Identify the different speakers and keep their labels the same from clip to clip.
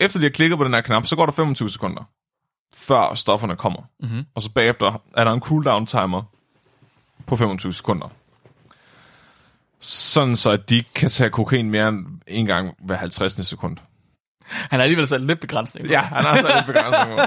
Speaker 1: efter de har klikket på den her knap, så går der 25 sekunder, før stofferne kommer. Mm-hmm. Og så bagefter er der en cooldown timer på 25 sekunder. Sådan så, at de ikke kan tage kokain mere end en gang hver 50. sekund.
Speaker 2: Han har alligevel sat lidt begrænsning. på
Speaker 1: Ja,
Speaker 2: det.
Speaker 1: han har så lidt begrænsning på.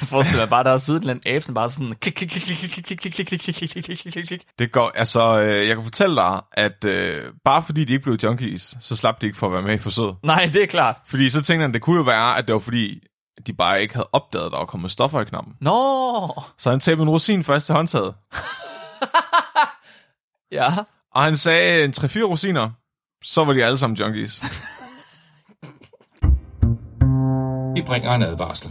Speaker 2: Jeg forestiller mig bare, der er siden en eller anden abe, som bare sådan... Klik, klik, klik, klik, klik, klik, klik, klik, klik, klik, klik, klik, klik, klik, klik.
Speaker 1: Det går, altså, øh, jeg kan fortælle dig, at øh, bare fordi de ikke blev junkies, så slap de ikke for at være med i forsøget.
Speaker 2: Nej, det er klart.
Speaker 1: Fordi så tænkte han, det kunne jo være, at det var fordi, de bare ikke havde opdaget, at der var kommet stoffer i knappen.
Speaker 2: Nå!
Speaker 1: Så han tabte en rosin først til håndtaget.
Speaker 2: Ja.
Speaker 1: Og han sagde "Øh, en 3-4 rosiner, så var de alle sammen junkies.
Speaker 3: Vi bringer en advarsel.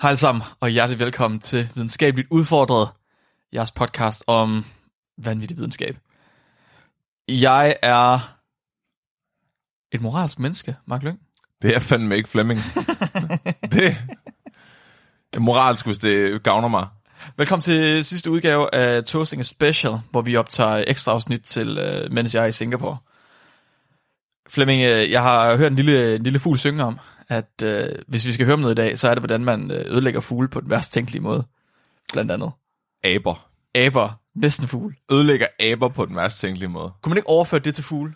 Speaker 2: Hej alle sammen, og hjertelig velkommen til Videnskabeligt Udfordret, jeres podcast om vanvittig videnskab. Jeg er et moralsk menneske, Mark Lyng.
Speaker 1: Det er fandme ikke Flemming. det er moralsk, hvis det gavner mig.
Speaker 2: Velkommen til sidste udgave af Toasting a Special, hvor vi optager ekstra afsnit til, øh, mens jeg er i Singapore. Flemming, øh, jeg har hørt en lille, en lille fugl synge om, at øh, hvis vi skal høre om noget i dag, så er det, hvordan man øh, ødelægger fugle på den værst tænkelige måde. Blandt andet
Speaker 1: Aber.
Speaker 2: aber, næsten fugl.
Speaker 1: Ødelægger aber på den værst tænkelige måde.
Speaker 2: Kunne man ikke overføre det til fugle?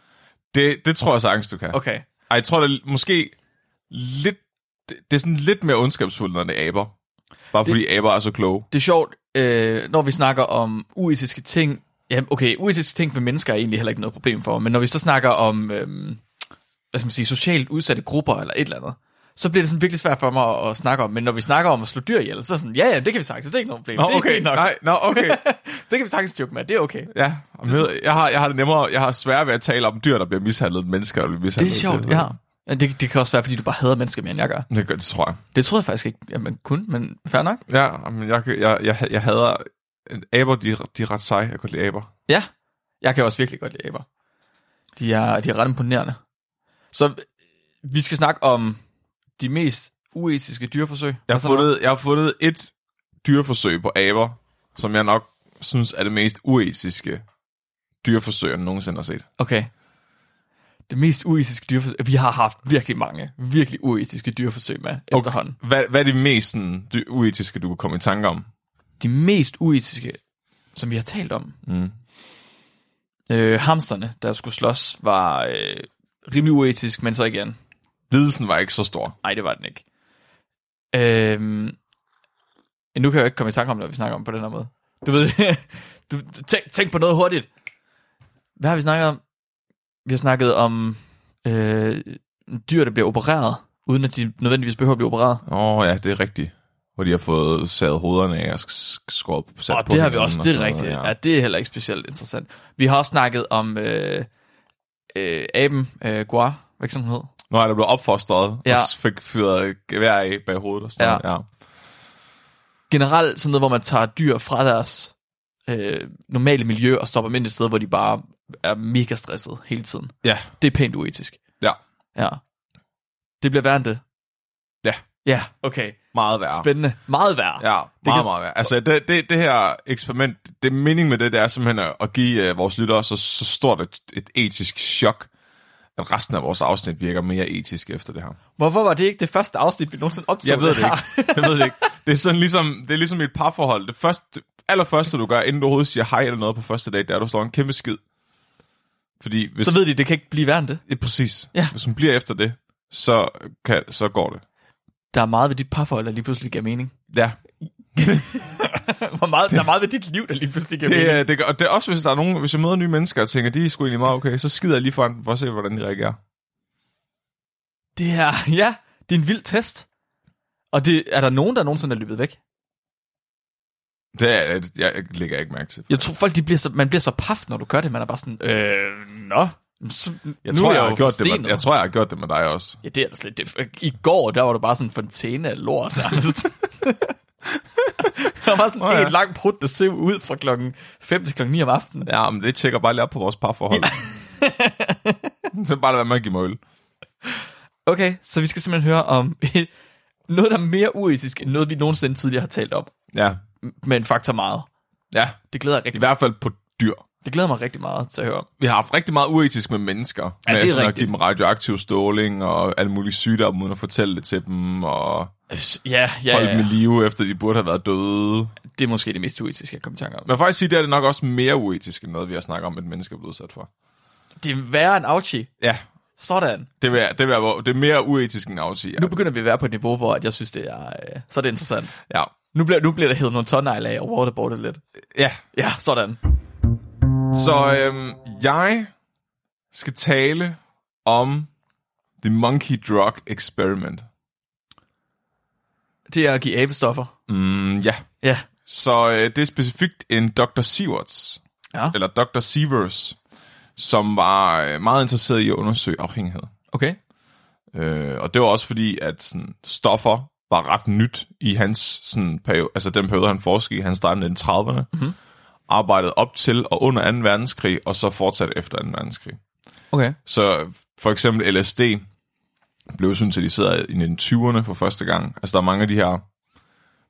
Speaker 1: Det, det tror jeg sagtens, du kan.
Speaker 2: Okay.
Speaker 1: Ej, jeg tror, det er måske lidt... Det det er sådan lidt mere ondskabsfuldt, end det er aber. Bare det... fordi aber er så kloge.
Speaker 2: Det er sjovt, øh, når vi snakker om uetiske ting. Ja, okay, uetiske ting for mennesker er egentlig heller ikke noget problem for, men når vi så snakker om, øh, hvad skal man sige, socialt udsatte grupper eller et eller andet, så bliver det sådan virkelig svært for mig at, at snakke om. Men når vi snakker om at slå dyr ihjel, så er sådan, ja, ja, det kan vi sagtens, det er ikke noget problem.
Speaker 1: Nå,
Speaker 2: det er
Speaker 1: okay.
Speaker 2: fint nok.
Speaker 1: Nej, nå, okay.
Speaker 2: det kan vi sagtens joke med, det er okay.
Speaker 1: Ja, og med, jeg, har, jeg har det nemmere, jeg har sværere ved at tale om dyr, der bliver mishandlet, end mennesker, der bliver
Speaker 2: Det
Speaker 1: mishandlet.
Speaker 2: er sjovt, ja.
Speaker 1: sådan.
Speaker 2: Ja, Det, det kan også være, fordi du bare hader mennesker mere, end jeg gør.
Speaker 1: Det, gør, det tror jeg.
Speaker 2: Det troede jeg faktisk ikke, at man kunne, men fair nok.
Speaker 1: Ja, men jeg, jeg, jeg, jeg hader... øh, Aber, de, de er ret seje. Jeg kan godt lide aber.
Speaker 2: Ja, jeg kan også virkelig godt lide aber. De er, de er ret imponerende. Så vi skal snakke om de mest uetiske dyreforsøg.
Speaker 1: Jeg har,
Speaker 2: Og sådan noget.
Speaker 1: fundet, jeg har fundet et dyreforsøg på aber, som jeg nok synes er det mest uetiske dyreforsøg, jeg nogensinde har set.
Speaker 2: Okay. Det mest uetiske dyreforsøg. Vi har haft virkelig mange, virkelig uetiske dyreforsøg med okay. efterhånden.
Speaker 1: Hvad, hvad er det mest sådan, dy- uetiske, du kan komme i tanke om?
Speaker 2: De mest uetiske, som vi har talt om.
Speaker 1: Mm.
Speaker 2: Øh, hamsterne, der skulle slås, var øh, rimelig uetisk, men så igen.
Speaker 1: Lidelsen var ikke så stor.
Speaker 2: Nej, det var den ikke. Øhm, nu kan jeg jo ikke komme i tanke om det, når vi snakker om det på den her måde. Du ved, du, du- tænk, tænk på noget hurtigt. Hvad har vi snakket om? Vi har snakket om øh, dyr, der bliver opereret, uden at de nødvendigvis behøver at blive opereret.
Speaker 1: Åh oh, ja, det er rigtigt. Hvor de har fået savet hovederne af og sk- skåret sat
Speaker 2: Og
Speaker 1: på
Speaker 2: det har vi
Speaker 1: hinanden
Speaker 2: også,
Speaker 1: og
Speaker 2: det er
Speaker 1: sådan noget,
Speaker 2: rigtigt. Ja.
Speaker 1: Ja.
Speaker 2: ja, det er heller ikke specielt interessant. Vi har også snakket om øh, øh, aben, øh, guar, hvad sådan hun hed.
Speaker 1: Nu er der blevet opfostret ja.
Speaker 2: Ja.
Speaker 1: og s- fik fyret gevær af bag hovedet og sådan
Speaker 2: Ja.
Speaker 1: noget, ja.
Speaker 2: generelt sådan noget, hvor man tager dyr fra deres øh, normale miljø og stopper dem ind et sted, hvor de bare er mega stresset hele tiden.
Speaker 1: Ja.
Speaker 2: Det er pænt uetisk.
Speaker 1: Ja.
Speaker 2: Ja. Det bliver værre end det.
Speaker 1: Ja.
Speaker 2: Ja, okay.
Speaker 1: Meget værre.
Speaker 2: Spændende. Meget
Speaker 1: Ja,
Speaker 2: værre.
Speaker 1: meget,
Speaker 2: kan-
Speaker 1: det meget værre. Altså, det, det, det her eksperiment, det mening med det, det er simpelthen at- at give uh, vores lyttere så, så stort et, et etisk chok, at resten af vores afsnit virker mere etisk efter det her.
Speaker 2: Hvorfor var det ikke det første afsnit, vi nogensinde optog?
Speaker 1: Jeg ved det
Speaker 2: her?
Speaker 1: ikke. Jeg ved det ikke. Det er sådan ligesom, det er ligesom i et parforhold. Det første, allerførste, du gør, inden du overhovedet siger hej eller noget på første dag, det er, at du slår en kæmpe skid. Fordi hvis,
Speaker 2: Så ved de, det kan ikke blive værre end det.
Speaker 1: Ja, præcis.
Speaker 2: Ja.
Speaker 1: Hvis hun bliver efter det, så, kan, så går det.
Speaker 2: Der er meget ved dit parforhold, der lige pludselig giver mening.
Speaker 1: Ja.
Speaker 2: Hvor meget, der er meget ved dit liv, der lige pludselig giver
Speaker 1: Det,
Speaker 2: mening.
Speaker 1: er- det, gør- og det er også, hvis der er nogen, hvis jeg møder nye mennesker og tænker, de er sgu egentlig meget okay, så skider jeg lige foran dem for at se, hvordan de reagerer.
Speaker 2: Det er, ja, det er en vild test. Og det, er der nogen, der nogensinde er løbet væk?
Speaker 1: Det er, jeg lægger ikke mærke til.
Speaker 2: Jeg tror, folk, de bliver så, man bliver så paf, når du gør det. Man er bare sådan, øh, nå. Så,
Speaker 1: Jeg
Speaker 2: nu
Speaker 1: tror,
Speaker 2: er
Speaker 1: jeg, jeg, har
Speaker 2: jo
Speaker 1: gjort det med,
Speaker 2: forstenet.
Speaker 1: jeg tror, jeg har gjort det med dig også.
Speaker 2: Ja, det er da slet det. øh, I går, der var du bare sådan en fontæne af lort, nærmest. der var sådan
Speaker 1: Nå ja.
Speaker 2: en lang prut, der sev ud fra klokken 5 til klokken 9 om aftenen.
Speaker 1: Ja, men det tjekker bare lige op på vores parforhold. så bare lad være med at give mig øl.
Speaker 2: Okay, så vi skal simpelthen høre om et, noget, der er mere uetisk, end noget, vi nogensinde tidligere har talt om.
Speaker 1: Ja,
Speaker 2: Men faktor meget.
Speaker 1: ja.
Speaker 2: Det glæder, jeg
Speaker 1: I
Speaker 2: rigtig,
Speaker 1: hvert fald på dyr.
Speaker 2: det glæder mig rigtig meget til at høre om.
Speaker 1: Vi har haft rigtig meget uetisk med mennesker.
Speaker 2: Ja,
Speaker 1: med
Speaker 2: det er
Speaker 1: sådan at
Speaker 2: rigtigt.
Speaker 1: give dem radioaktiv ståling og alle mulige sygdomme, uden at fortælle det til dem, og
Speaker 2: Ja, ja,
Speaker 1: holde
Speaker 2: ja,
Speaker 1: dem i
Speaker 2: ja.
Speaker 1: live, efter de burde have været døde.
Speaker 2: Det er måske det mest uetiske, jeg kommer i tanke om.
Speaker 1: Man kan faktisk sige, det er det nok også mere uetisk, end noget, vi har snakket om, at mennesker er blevet udsat for.
Speaker 2: Det er værre end Auchi.
Speaker 1: Ja,
Speaker 2: Sådan.
Speaker 1: det, vil jeg, det, vil jeg, vove- det er mere uetisk end afsige. Ja.
Speaker 2: Nu begynder vi at være på et niveau, hvor at jeg synes, det er, øh, så er det interessant.
Speaker 1: ja.
Speaker 2: Nu bliver, nu bliver der hævet nogle tonnegle af og waterboardet lidt.
Speaker 1: ja.
Speaker 2: Ja, sådan.
Speaker 1: Så øhm, jeg skal tale om The Monkey Drug Experiment.
Speaker 2: Det er at give abestoffer.
Speaker 1: Mm, ja.
Speaker 2: Ja.
Speaker 1: Så øh, det er specifikt en Dr. Sieverts,
Speaker 2: Ja.
Speaker 1: eller Dr. Sievers, som var øh, meget interesseret i at undersøge afhængighed.
Speaker 2: Okay.
Speaker 1: Øh, og det var også fordi, at sådan, stoffer var ret nyt i hans sådan, periode, altså den periode, han forskede i. Han startede i 30'erne, mm-hmm. arbejdede op til og under 2. verdenskrig, og så fortsatte efter 2. verdenskrig.
Speaker 2: Okay.
Speaker 1: Så for eksempel LSD blev syntetiseret i 1920'erne for første gang. Altså der er mange af de her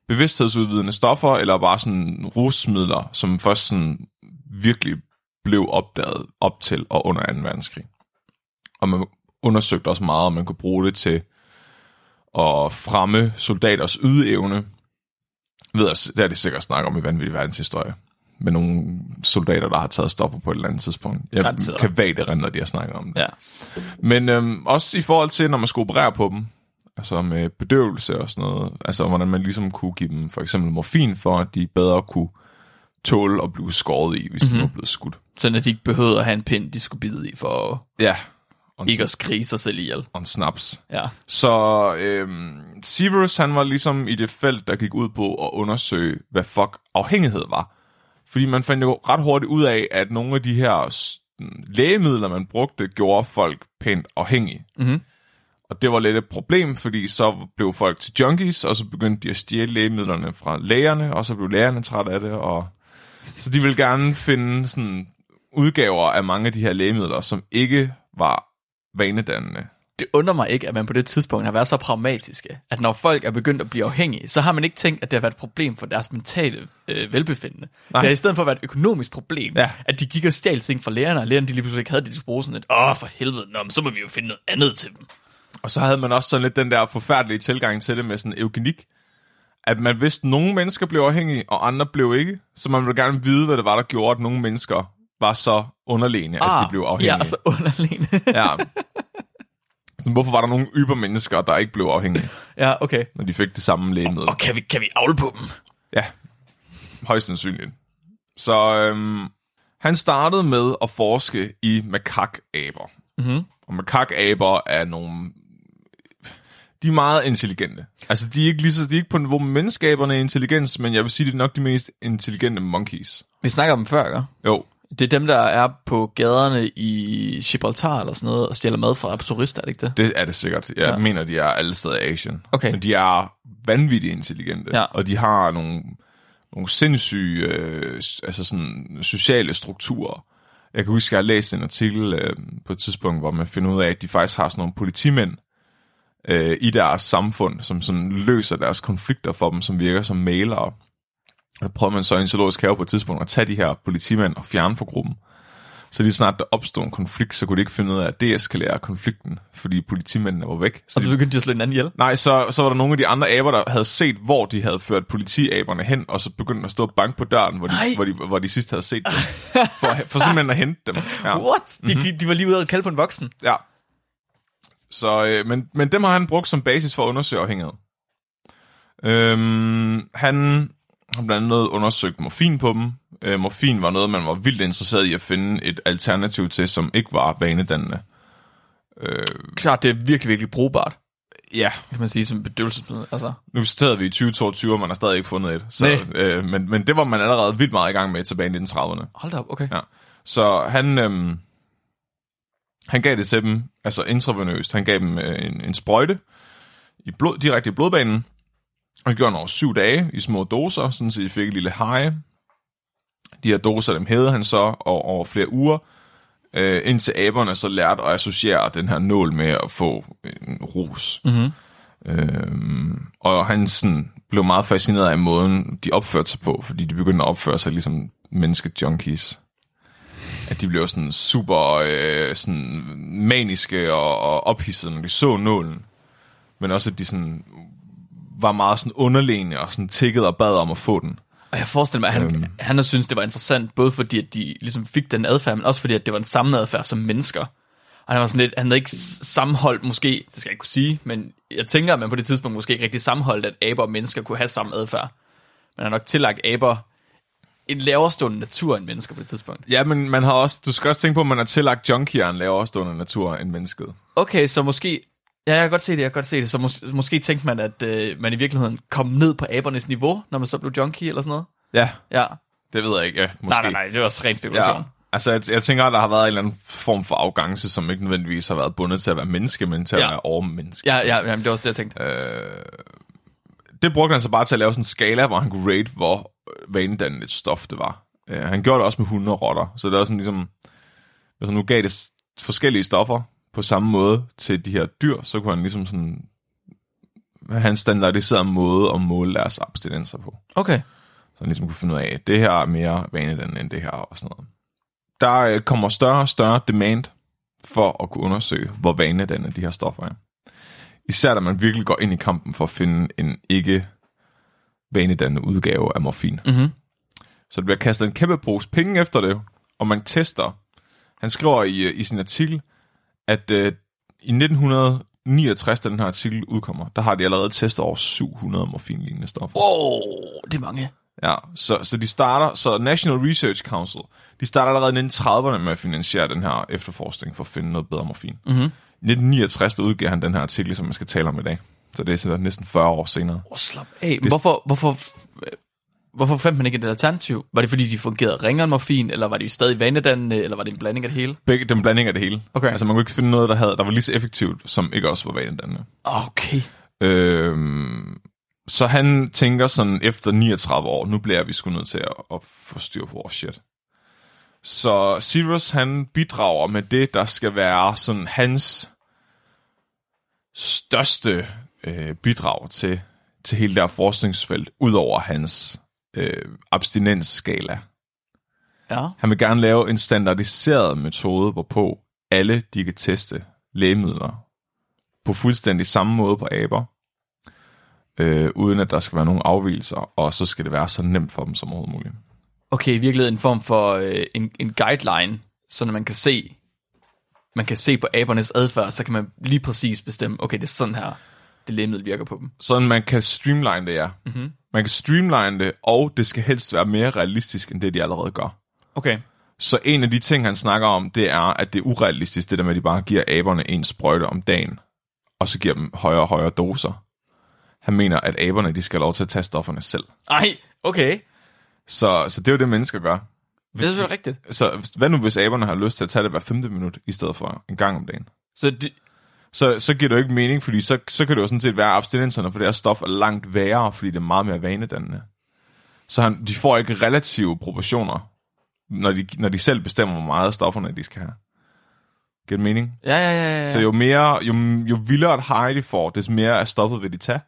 Speaker 1: bevidsthedsudvidende stoffer, eller bare sådan rusmidler, som først sådan virkelig blev opdaget op til og under 2. verdenskrig. Og man undersøgte også meget, om man kunne bruge det til at fremme soldaters ydeevne. Jeg ved, at det er det sikkert snak om i vanvittig verdenshistorie. Med nogle soldater, der har taget stopper på et eller andet tidspunkt. Jeg
Speaker 2: Garanteret.
Speaker 1: kan vagt erindre, at de har snakket om det.
Speaker 2: Ja.
Speaker 1: Men øhm, også i forhold til, når man skulle operere på dem, altså med bedøvelse og sådan noget, altså hvordan man ligesom kunne give dem for eksempel morfin, for at de bedre kunne tåle at blive skåret i, hvis mm-hmm. de var blevet skudt.
Speaker 2: Sådan at de ikke behøvede at have en pind, de skulle bide i for
Speaker 1: Ja, og en,
Speaker 2: ikke at skrige sig selv ihjel.
Speaker 1: og en snaps.
Speaker 2: Ja.
Speaker 1: Så øhm, Severus, han var ligesom i det felt, der gik ud på at undersøge, hvad fuck afhængighed var. Fordi man fandt jo ret hurtigt ud af, at nogle af de her sådan, lægemidler, man brugte, gjorde folk pænt afhængige.
Speaker 2: Mhm.
Speaker 1: Og det var lidt et problem, fordi så blev folk til junkies, og så begyndte de at stjæle lægemidlerne fra lægerne, og så blev lægerne trætte af det. Og... Så de ville gerne finde sådan, udgaver af mange af de her lægemidler, som ikke var vanedannende.
Speaker 2: Det undrer mig ikke, at man på det tidspunkt har været så pragmatiske, at når folk er begyndt at blive afhængige, så har man ikke tænkt, at det har været et problem for deres mentale øh, velbefindende. Nej. Det har i stedet for været et økonomisk problem,
Speaker 1: Ja.
Speaker 2: at de gik og stjal ting fra lærerne, og lærerne de lige pludselig ikke havde det, de skulle bruge sådan et, åh for helvede, nå, men så må vi jo finde noget andet til dem.
Speaker 1: Og så havde man også sådan lidt den der forfærdelige tilgang til det med sådan eugenik. At man vidste, at nogle mennesker blev afhængige, og andre blev ikke. Så man ville gerne vide, hvad det var, der gjorde, at nogle mennesker var så underlegne, at de blev afhængige.
Speaker 2: Ah, Ja, altså. og så underliggende.
Speaker 1: ja. Så hvorfor var der nogle ybermennesker, der ikke blev afhængige,
Speaker 2: ja, okay.
Speaker 1: når de fik det samme lægemiddel?
Speaker 2: Og kan vi, kan vi avle på dem?
Speaker 1: Ja, højst sandsynligt. Så øhm, han startede med at forske i makakaber.
Speaker 2: Mhm.
Speaker 1: Og makakaber er nogle... De er meget intelligente. Altså, de er ikke, lige så, de er ikke på niveau med menneskaberne i intelligens, men jeg vil sige, det er nok de mest intelligente monkeys.
Speaker 2: Vi snakker om dem før, ikke?
Speaker 1: Jo,
Speaker 2: Det er dem, der er på gaderne i Gibraltar eller sådan noget, og stjæler mad fra turister, er det ikke det?
Speaker 1: det er det sikkert. Jeg
Speaker 2: Ja.
Speaker 1: ja. mener, de er alle steder i Asien.
Speaker 2: Okay.
Speaker 1: Men de er vanvittigt intelligente,
Speaker 2: Ja.
Speaker 1: og de har nogle, nogle sindssyge øh, s- altså sådan, sociale strukturer. Jeg kan huske, at jeg har læst en artikel øh, på et tidspunkt, hvor man finder ud af, at de faktisk har sådan nogle politimænd øh, i deres samfund, som sådan løser deres konflikter for dem, som virker som malere. Og prøver man så i en zoologisk have på et tidspunkt at tage de her politimænd og fjerne fra gruppen. Så lige snart der opstod en konflikt, så kunne de ikke finde ud af at deeskalere konflikten, fordi politimændene var væk. Så
Speaker 2: Og
Speaker 1: de
Speaker 2: så begyndte de at slå hinanden ihjel.
Speaker 1: Nej, så, så var der nogle af de andre aber, der havde set, hvor de havde ført politiaberne hen, og så begyndte at stå og banke på døren, hvor de,
Speaker 2: Nej.
Speaker 1: hvor de, hvor de sidst havde set dem. For, for simpelthen at hente dem. Ja.
Speaker 2: What? De, mm-hmm. de var lige ude og kalde på en voksen.
Speaker 1: ja. Så, øh, men, men dem har han brugt som basis for at undersøge afhængighed. Øhm, han har blandt andet undersøgt morfin på dem. Øh, morfin var noget, man var vildt interesseret i at finde et alternativ til, som ikke var vanedannende.
Speaker 2: Klart, det er virkelig, virkelig brugbart,
Speaker 1: Ja,
Speaker 2: kan man sige, som bedøvelsesmiddel. Altså,
Speaker 1: nu citerede vi i 2022, og man har stadig ikke fundet et. Så,
Speaker 2: Nej.
Speaker 1: øh, men, men det var man allerede vildt meget i gang med tilbage i 1930'erne.
Speaker 2: hold da op, okay.
Speaker 1: Ja. Så han, øhm, han gav det til dem, altså intravenøst. Han gav dem øh, en, en sprøjte i blod, direkte i blodbanen. Og det gjorde han over syv dage i små doser, sådan så de fik et lille hej. De her doser, dem hævede han så over, over flere uger, øh, indtil aberne så lærte at associere den her nål med at få en rus.
Speaker 2: Mhm.
Speaker 1: Øhm, og han sådan blev meget fascineret af måden, de opførte sig på, fordi de begyndte at opføre sig ligesom menneske-junkies. At de blev sådan super øh, sådan maniske og, og ophidsede, når de så nålen. Men også, at de sådan var meget sådan underlegne og sådan tikkede og bad om at få den.
Speaker 2: Og jeg forestiller mig, at han, øhm. han har syntes, det var interessant, både fordi, at de ligesom fik den adfærd, men også fordi, at det var en samme adfærd som mennesker. Og han var sådan lidt, han havde ikke s- sammenholdt måske, det skal jeg ikke kunne sige, men jeg tænker, at man på det tidspunkt måske ikke rigtig sammenholdt, at aber og mennesker kunne have samme adfærd. Man har nok tillagt aber en lavere stående natur end mennesker på det tidspunkt.
Speaker 1: Ja, men man har også, du skal også tænke på, at man har tillagt junkieren lavere stående natur end mennesket.
Speaker 2: Okay, så måske... Ja, jeg kan godt se det, jeg kan godt se det. Så mås- måske tænkte man, at øh, man i virkeligheden kom ned på abernes niveau, når man så blev junkie eller sådan noget.
Speaker 1: Ja,
Speaker 2: Ja.
Speaker 1: det ved jeg ikke. Ja, måske.
Speaker 2: Nej, nej, nej, det var også ren spekulation.
Speaker 1: Ja,
Speaker 2: Ja.
Speaker 1: altså jeg, jeg tænker, at der har været en eller anden form for arrogance, som ikke nødvendigvis har været bundet til at være menneske, men til ja.
Speaker 2: Ja.
Speaker 1: at være overmenneske.
Speaker 2: Ja, Øh. ja, jamen, det var også det, jeg tænkte.
Speaker 1: Det brugte han så bare til at lave sådan en skala, hvor han kunne rate, hvor øh, vanedannende et stof det var. Øh, han gjorde det også med hunde og rotter, så det var sådan ligesom, hvis han nu gav det s- forskellige stoffer på samme måde til de her dyr, så kunne han ligesom sådan have en standardiseret måde at måle deres abstinenser på.
Speaker 2: Okay.
Speaker 1: Så han ligesom kunne finde ud af, at det her er mere vanedannende end det her og sådan noget. Der øh, kommer større og større demand for at kunne undersøge, hvor vanedannende de her stoffer er. Især da man virkelig går ind i kampen for at finde en ikke vanedannende udgave af morfin.
Speaker 2: Mhm.
Speaker 1: Så der bliver kastet en kæmpe pose penge efter det, og man tester. Han skriver i, øh, i sin artikel, at øh, i 1969, da den her artikel udkommer, der har de allerede testet over 700 morfinlignende stoffer.
Speaker 2: Wow, det er mange.
Speaker 1: Ja, så, så de starter, så National Research Council, de starter allerede i 1930'erne med at finansiere den her efterforskning for at finde noget bedre morfin. Mm-hmm. I 1969 der udgiver han den her artikel, som man skal tale om i dag. Så det er sådan næsten 40 år senere.
Speaker 2: Wow, slap af. Men hvorfor, hvorfor, f- øh, hvorfor fandt man ikke et alternativ? Var det, fordi de fungerede ringere end morfin, eller var de stadig vanedannende, eller var det en blanding af det hele?
Speaker 1: Begge, den blanding af det hele.
Speaker 2: Okay.
Speaker 1: Altså man kunne ikke finde noget, der, havde, der var lige så effektivt, som ikke også var vanedannende.
Speaker 2: Okay.
Speaker 1: Øhm, så han tænker sådan, efter 39 år, nu bliver vi sgu nødt til at, at få styr på vores shit. Så Sirius, han bidrager med det, der skal være sådan hans største øh, bidrag til, til hele det her forskningsfelt, ud over hans øh, abstinensskala.
Speaker 2: Ja.
Speaker 1: Han vil gerne lave en standardiseret metode, hvorpå alle de kan teste lægemidler på fuldstændig samme måde på aber, øh, uden at der skal være nogen afvielser, og så skal det være så nemt for dem som overhovedet muligt.
Speaker 2: Okay, i virkeligheden en form for øh, en, en guideline, så når man kan se, man kan se på abernes adfærd, så kan man lige præcis bestemme, okay, det er sådan her, det lægemiddel virker på dem.
Speaker 1: Sådan man kan streamline det, ja. Mm-hmm. Man kan streamline det, og det skal helst være mere realistisk, end det de allerede gør.
Speaker 2: Okay.
Speaker 1: Så en af de ting, han snakker om, det er, at det er urealistisk, det der med, at de bare giver aberne en sprøjte om dagen, og så giver dem højere og højere doser. Han mener, at aberne, de skal have lov til at tage stofferne selv.
Speaker 2: Ej, okay.
Speaker 1: Så, så det er jo det, mennesker gør.
Speaker 2: Det er selvfølgelig rigtigt.
Speaker 1: Så hvad nu, hvis aberne har lyst til at tage det hver femte minut, i stedet for en gang om dagen?
Speaker 2: Så det,
Speaker 1: Så, så giver det jo ikke mening, fordi så, så kan det jo sådan set være, at abstinenserne for det her stof er langt værre, fordi det er meget mere vanedannende. Så han, de får ikke relative proportioner, når de, når de selv bestemmer, hvor meget af stofferne de skal have. Giver det mening?
Speaker 2: ja, ja, ja, ja.
Speaker 1: Så jo mere, jo, jo vildere et high de får, des mere af stoffet vil de tage,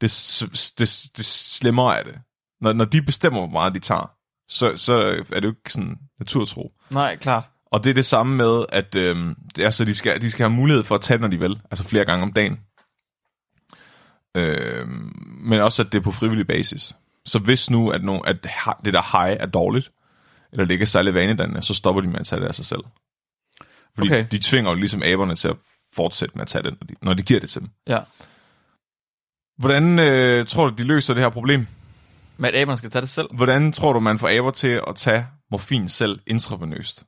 Speaker 1: des, des, des slemmere er det. Når, når de bestemmer, hvor meget de tager, så, så er det jo ikke sådan naturtro.
Speaker 2: Nej, klart.
Speaker 1: Og det er det samme med, at øhm, det er, så de, skal, de skal have mulighed for at tage det, når de vil, altså flere gange om dagen. Øhm, men også, at det er på frivillig basis. Så hvis nu, at, no, at ha- det der high er dårligt, eller det ikke er særlig vanedannende, så stopper de med at tage det af sig selv. Fordi
Speaker 2: Okay.
Speaker 1: okay. de tvinger jo ligesom aberne til at fortsætte med at tage det, når de, når de giver det til dem.
Speaker 2: Ja.
Speaker 1: Hvordan øh, tror du, de løser det her problem?
Speaker 2: Men at aberne skal tage det selv.
Speaker 1: Hvordan tror du, man får aber til at tage morfin selv intravenøst?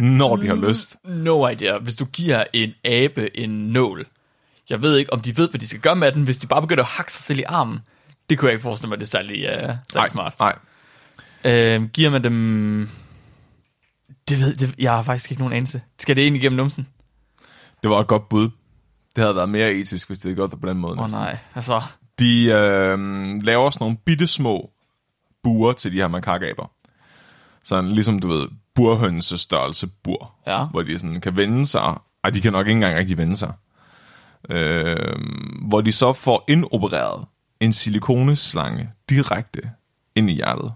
Speaker 1: Når de har
Speaker 2: Mm.
Speaker 1: lyst.
Speaker 2: No idea. Hvis du giver en abe en nål, jeg ved ikke, om de ved, hvad de skal gøre med den, hvis de bare begynder at hakke sig selv i armen. Det kunne jeg ikke forestille mig, det er særlig, uh, særlig smart.
Speaker 1: Nej.
Speaker 2: Øhm, giver man dem... Det ved det, jeg har faktisk ikke nogen anelse. Skal det ind igennem numsen?
Speaker 1: Det var et godt bud. Det havde været mere etisk, hvis det havde gjort det på den måde.
Speaker 2: Åh oh,
Speaker 1: næsten.
Speaker 2: nej, altså...
Speaker 1: De øh, laver sådan nogle bitte små buer til de her makakaber. Sådan ligesom, du ved, burhønsestørrelse bur.
Speaker 2: Ja.
Speaker 1: Hvor de sådan kan vende sig. Ej, de kan nok ikke engang rigtig vende sig. Øh, hvor de så får indopereret en silikoneslange direkte ind i hjertet.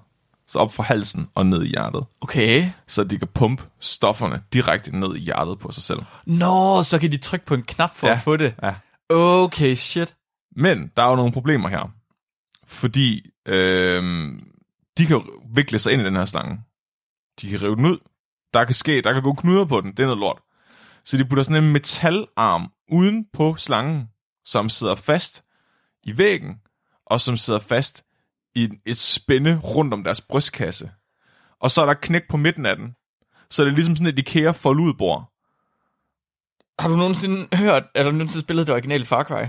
Speaker 1: Så op fra halsen og ned i hjertet.
Speaker 2: Okay.
Speaker 1: Så de kan pumpe stofferne direkte ned i hjertet på sig selv.
Speaker 2: Nå, så kan de trykke på en knap for ja.
Speaker 1: Ja.
Speaker 2: at få det.
Speaker 1: Ja.
Speaker 2: Okay, shit.
Speaker 1: Men der er jo nogle problemer her. Fordi øh, de kan jo vikle sig ind i den her slange. De kan rive den ud. Der kan ske, der kan gå knuder på den. Det er noget lort. Så de putter sådan en metalarm uden på slangen, som sidder fast i væggen, og som sidder fast i et spænde rundt om deres brystkasse. Og så er der et knæk på midten af den. Så det er ligesom sådan et IKEA forludbord.
Speaker 2: Har du nogensinde hørt, eller nogensinde spillet det originale Far Cry?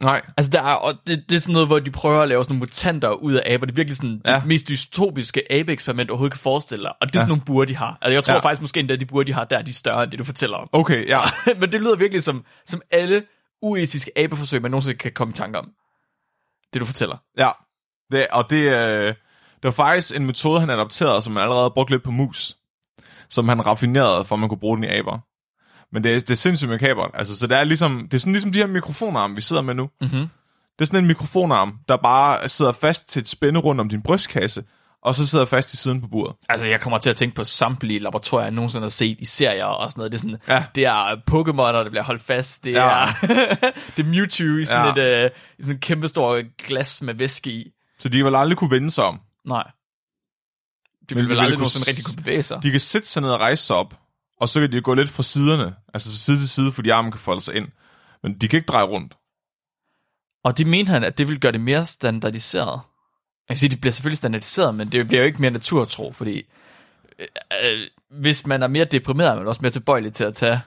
Speaker 1: Nej,
Speaker 2: Altså, der er, og det, det er sådan noget, hvor de prøver at lave sådan nogle mutanter ud af aber. Det er virkelig sådan ja.
Speaker 1: Ja.
Speaker 2: det mest dystopiske abe-eksperiment, du overhovedet kan forestille dig. Og det er ja. sådan nogle burer, de har. Altså, jeg tror ja.
Speaker 1: Ja.
Speaker 2: faktisk måske endda, at de burer, de har der, de er større end det, du fortæller om.
Speaker 1: okay, ja.
Speaker 2: Men det lyder virkelig som, som alle uetiske abeforsøg, man nogensinde kan komme i tanke om. Det, du fortæller.
Speaker 1: Ja, det, og det, øh, det var faktisk en metode, han adopterede, som han allerede brugte lidt på mus. Som han raffinerede, for at man kunne bruge den i aber. Men det, er- det er sindssygt makabert. Altså, så det er, ligesom, det er sådan ligesom de her mikrofonarme, vi sidder med nu.
Speaker 2: Mhm.
Speaker 1: Det er sådan en mikrofonarm, der bare sidder fast til et spænde rundt om din brystkasse, og så sidder fast i siden på buret.
Speaker 2: Altså, jeg kommer til at tænke på samtlige laboratorier, jeg nogensinde har set i serier og sådan noget. Det er, sådan, ja.
Speaker 1: Ja.
Speaker 2: det er Pokémon, og der bliver holdt fast. Det
Speaker 1: Ja.
Speaker 2: er, det er Mewtwo i sådan,
Speaker 1: Ja.
Speaker 2: ja. et, øh, i sådan et kæmpestort glas med væske i.
Speaker 1: Så de vil aldrig kunne vende sig om.
Speaker 2: Nej. De
Speaker 1: Men vi
Speaker 2: ville vel
Speaker 1: ville
Speaker 2: aldrig
Speaker 1: kunne
Speaker 2: nogensinde
Speaker 1: s-
Speaker 2: rigtig kunne bevæge sig.
Speaker 1: De kan sætte sig ned og rejse sig op, og så kan de gå lidt fra siderne, altså fra side til side, fordi armen kan folde sig ind. Men de kan ikke dreje rundt.
Speaker 2: Og det mente han, at det ville gøre det mere standardiseret. Jeg kan sige, det bliver selvfølgelig standardiseret, men det bliver jo ikke mere naturtro, fordi øh, øh, hvis man er mere deprimeret, er man også mere tilbøjelig til at tage...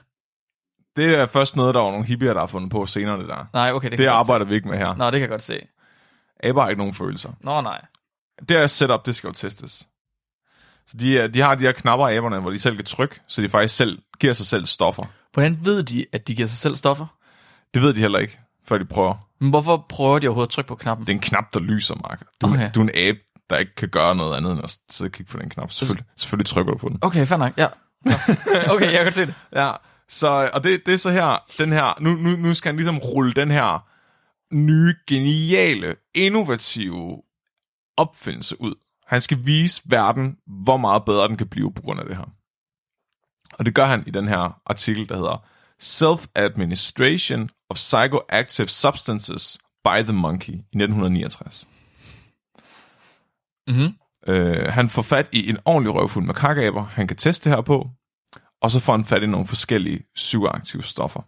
Speaker 1: Det er først noget, der var nogle hippier, der har fundet på senere, det der.
Speaker 2: Nej, okay, det kan
Speaker 1: Det
Speaker 2: jeg godt
Speaker 1: arbejder vi ikke med her.
Speaker 2: se. Nå, det kan jeg godt se.
Speaker 1: Aber har ikke nogen følelser.
Speaker 2: Nå, nej.
Speaker 1: Det her setup, det skal jo testes. Så de, øh, de har de her knapper af aberne, hvor de selv kan trykke, så de faktisk selv giver sig selv stoffer.
Speaker 2: Hvordan ved de, at de giver sig selv stoffer?
Speaker 1: Det ved de heller ikke, før de prøver.
Speaker 2: Men hvorfor prøver de overhovedet at trykke på knappen?
Speaker 1: Det er en knap, der lyser, Mark. Du,
Speaker 2: Okay.
Speaker 1: okay. du er en abe, der ikke kan gøre noget andet end at sidde og kigge på den knap. Selvfølgelig, selvfølgelig trykker du på den.
Speaker 2: Okay, fair nok, ja. Nå. Okay, jeg kan godt se det.
Speaker 1: Ja, så, og det, det er så her, den her, nu, nu, nu skal han ligesom rulle den her nye, geniale, innovative opfindelse ud. Han skal vise verden, hvor meget bedre den kan blive på grund af det her. Og det gør han i den her artikel, der hedder Self-Administration of Psychoactive Substances by the Monkey i 1969.
Speaker 2: Mhm.
Speaker 1: Øh, han får fat i en ordentlig røvfuld med kakaber, han kan teste det her på, og så får han fat i nogle forskellige psykoaktive stoffer.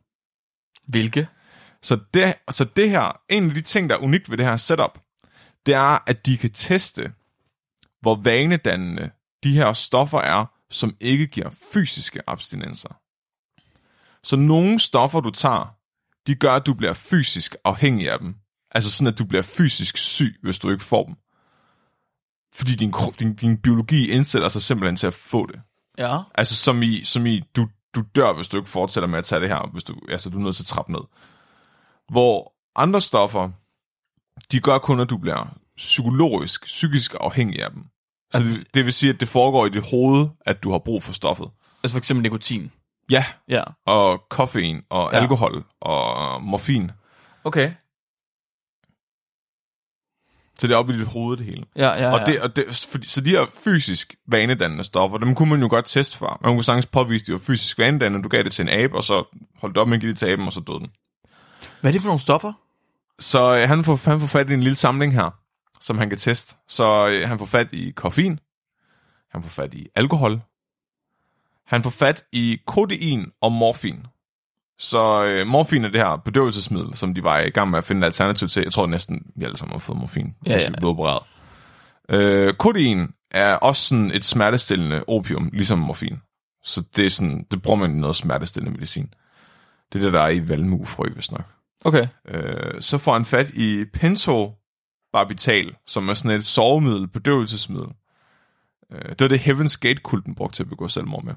Speaker 2: Hvilke?
Speaker 1: Så det, så det her, en af de ting, der er unikt ved det her setup, det er, at de kan teste, hvor vanedannende de her stoffer er, som ikke giver fysiske abstinenser. Så nogle stoffer, du tager, de gør, at du bliver fysisk afhængig af dem. Altså sådan, at du bliver fysisk syg, hvis du ikke får dem. Fordi din, krop- din, din biologi indstiller sig simpelthen til at få det.
Speaker 2: Ja.
Speaker 1: Altså som i, som i du, du dør, hvis du ikke fortsætter med at tage det her. Hvis du, altså du er nødt til at trappe ned. Hvor andre stoffer, de gør kun, at du bliver psykologisk, psykisk afhængig af dem. Så det, det vil sige, at det foregår i dit hoved, at du har brug for stoffet.
Speaker 2: Altså for eksempel nikotin.
Speaker 1: Ja,
Speaker 2: Ja.
Speaker 1: og koffein, og
Speaker 2: Ja.
Speaker 1: ja. alkohol, og morfin.
Speaker 2: Okay.
Speaker 1: Så det er oppe i dit hoved, det hele.
Speaker 2: Ja, ja,
Speaker 1: Og
Speaker 2: ja.
Speaker 1: det, og det, fordi, så de her fysisk vanedannende stoffer, dem kunne man jo godt teste for. Man kunne sagtens påvise, at de var fysisk vanedannende. Du gav det til en abe, og så holdt op med at give det til aben, og så døde den.
Speaker 2: Hvad er det for nogle stoffer?
Speaker 1: Så øh, han får, han får fat i en lille samling her, som han kan teste. Så øh, han får fat i koffein, han får fat i alkohol, han får fat i kodein og morfin. Så øh, morfin er det her bedøvelsesmiddel, som de var i gang med at finde et alternativ til. Jeg tror næsten, vi alle sammen har fået morfin,
Speaker 2: Ja,
Speaker 1: hvis
Speaker 2: ja.
Speaker 1: vi blev opereret. Øh, kodein er også sådan et smertestillende opium, ligesom morfin. Så det, er sådan, det bruger man i noget smertestillende medicin. Det er det, der er i valmuefrø, hvis nok.
Speaker 2: Okay.
Speaker 1: Øh, så får han fat i pentobarbital, som er sådan et sovemiddel, bedøvelsesmiddel. Øh, det var det Heaven's Gate-kulten brugte til at begå selvmord med.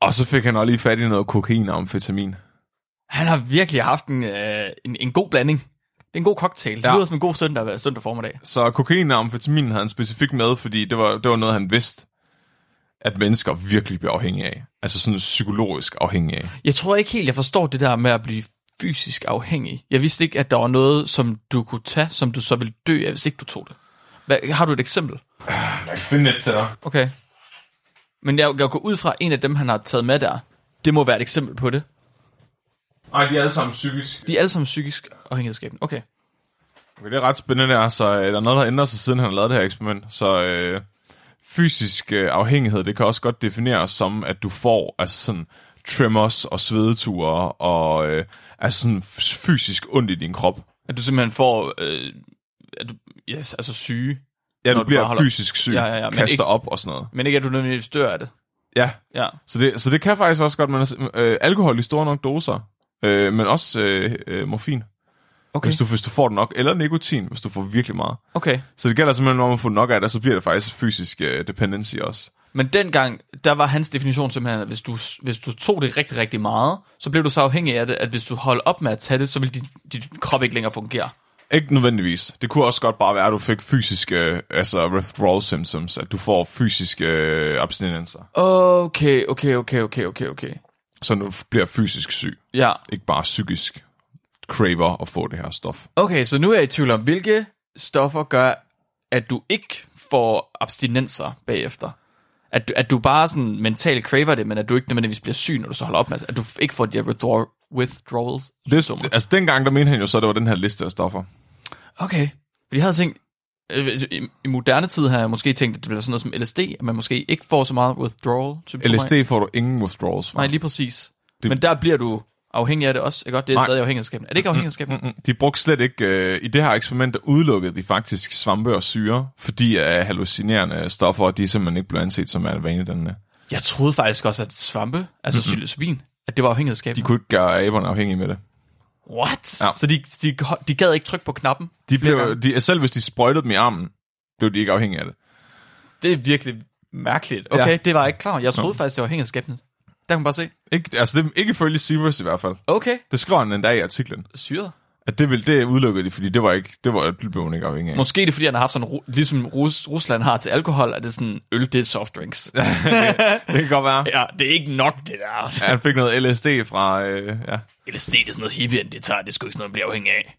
Speaker 1: Og så fik han også lige fat i noget kokain og amfetamin.
Speaker 2: Han har virkelig haft en, øh, en, en god blanding. Det er en god cocktail. Det
Speaker 1: Ja.
Speaker 2: lyder som en god søndag, hver søndag formiddag.
Speaker 1: Så kokain og amfetamin havde han specifikt med, fordi det var, det var noget, han vidste, at mennesker virkelig bliver afhængige af. Altså sådan psykologisk afhængige af.
Speaker 2: Jeg tror ikke helt, jeg forstår det der med at blive fysisk afhængig. Jeg vidste ikke, at der var noget, som du kunne tage, som du så ville dø af, hvis ikke du tog det. Hvad, har du et eksempel?
Speaker 1: Jeg kan finde et til dig.
Speaker 2: Okay. Men jeg, jeg går ud fra, at en af dem, han har taget med der, det må være et eksempel på det.
Speaker 1: Ej, de er alle sammen psykisk.
Speaker 2: De er alle sammen psykisk afhængighedsskabende. Okay.
Speaker 1: Okay, det er ret spændende der, så øh, der er noget, der ændrer sig, siden han har lavet det her eksperiment. Så øh, fysisk øh, afhængighed, det kan også godt defineres som, at du får altså sådan tremors og svedeture og øh, altså sådan fysisk ondt i din krop.
Speaker 2: At du simpelthen får... Øh, at du, yes, altså syge.
Speaker 1: Ja,
Speaker 2: Når
Speaker 1: du
Speaker 2: du bare
Speaker 1: bliver
Speaker 2: holder-
Speaker 1: fysisk syg,
Speaker 2: Ja, ja, ja, men
Speaker 1: kaster
Speaker 2: ikke-
Speaker 1: op og sådan noget.
Speaker 2: Men ikke, at du nødvendigvis dør af det.
Speaker 1: Ja,
Speaker 2: Ja.
Speaker 1: så det, så det kan faktisk også godt, man er, øh, alkohol i store nok doser, øh, men også øh, øh, morfin, okay.
Speaker 2: Okay.
Speaker 1: hvis, du, hvis du får det nok, eller nikotin, hvis du får virkelig meget.
Speaker 2: Okay.
Speaker 1: Så det gælder simpelthen om at få nok af det, og så bliver det faktisk fysisk øh, dependency også.
Speaker 2: Men dengang, der var hans definition simpelthen, at hvis du, hvis du tog det rigtig, rigtig meget, så blev du så afhængig af det, at hvis du holdt op med at tage det, så ville din, din krop ikke længere fungere.
Speaker 1: Ikke nødvendigvis. Det kunne også godt bare være, at du fik fysiske altså withdrawal symptoms, at du får fysiske øh, abstinenser,
Speaker 2: Okay, okay, okay, okay, okay, okay.
Speaker 1: så du bliver fysisk syg,
Speaker 2: Ja,
Speaker 1: ikke bare psykisk craver at få det her stof.
Speaker 2: okay, så nu er jeg i tvivl om, hvilke stoffer gør, at du ikke får abstinenser bagefter. At du, at du bare sådan mentalt craver det, men at du ikke nødvendigvis bliver syg, når du så holder op med det. At du ikke får de her withdraw, withdrawals.
Speaker 1: Det, altså dengang, der mente han jo så, at det var den her liste af stoffer.
Speaker 2: Okay. Fordi jeg havde tænkt, øh, i, i moderne tid har jeg måske tænkt, at det ville være sådan noget som LSD, at man måske ikke får så meget withdrawal. symptomer af.
Speaker 1: LSD får du ingen withdrawals fra.
Speaker 2: Nej, lige præcis.
Speaker 1: Det-
Speaker 2: Det... Men der bliver du afhængig af det også, ikke godt? Det er
Speaker 1: Nej.
Speaker 2: stadig afhængighedsskabende. Er det ikke afhængighedsskabende?
Speaker 1: Mm, De brugte slet ikke, øh, i det her eksperiment, der udelukkede de faktisk svampe og syre, fordi øh, hallucinerende stoffer, de simpelthen ikke blev anset som vanedannende.
Speaker 2: Jeg troede faktisk også, at svampe, altså mm psilocybin, at det var
Speaker 1: De
Speaker 2: afhængighedsskabende.
Speaker 1: kunne ikke gøre aberne afhængige med det.
Speaker 2: What?
Speaker 1: Ja.
Speaker 2: Ja. Så de, de, de gad ikke trykke på knappen?
Speaker 1: De
Speaker 2: Flere
Speaker 1: blev,
Speaker 2: gange.
Speaker 1: de, selv hvis de sprøjtede dem i armen, blev de ikke afhængige af det.
Speaker 2: Det er virkelig mærkeligt. Okay,
Speaker 1: Ja.
Speaker 2: ja. det var jeg ikke klar. over. Jeg troede faktisk, det var afhængighedsskabende. Der kan man bare se.
Speaker 1: Ikke, altså det er ikke ifølge Severus i hvert fald.
Speaker 2: Okay,
Speaker 1: Det skriver han endda i artiklen.
Speaker 2: syret.
Speaker 1: At det, ville, det udelukkede de, fordi det var ikke, det var, det blev hun ikke afhængig af.
Speaker 2: Måske er det, fordi han har haft sådan, ru- ligesom Rus- Rusland har til alkohol, at det er sådan, øl, det er softdrinks.
Speaker 1: Det kan godt være.
Speaker 2: Ja, det er ikke nok, det der.
Speaker 1: Ja, han fik noget LSD fra... Øh, ja.
Speaker 2: LSD, det er sådan noget hippie, det tager. Det er sgu ikke sådan noget, man bliver afhængig af.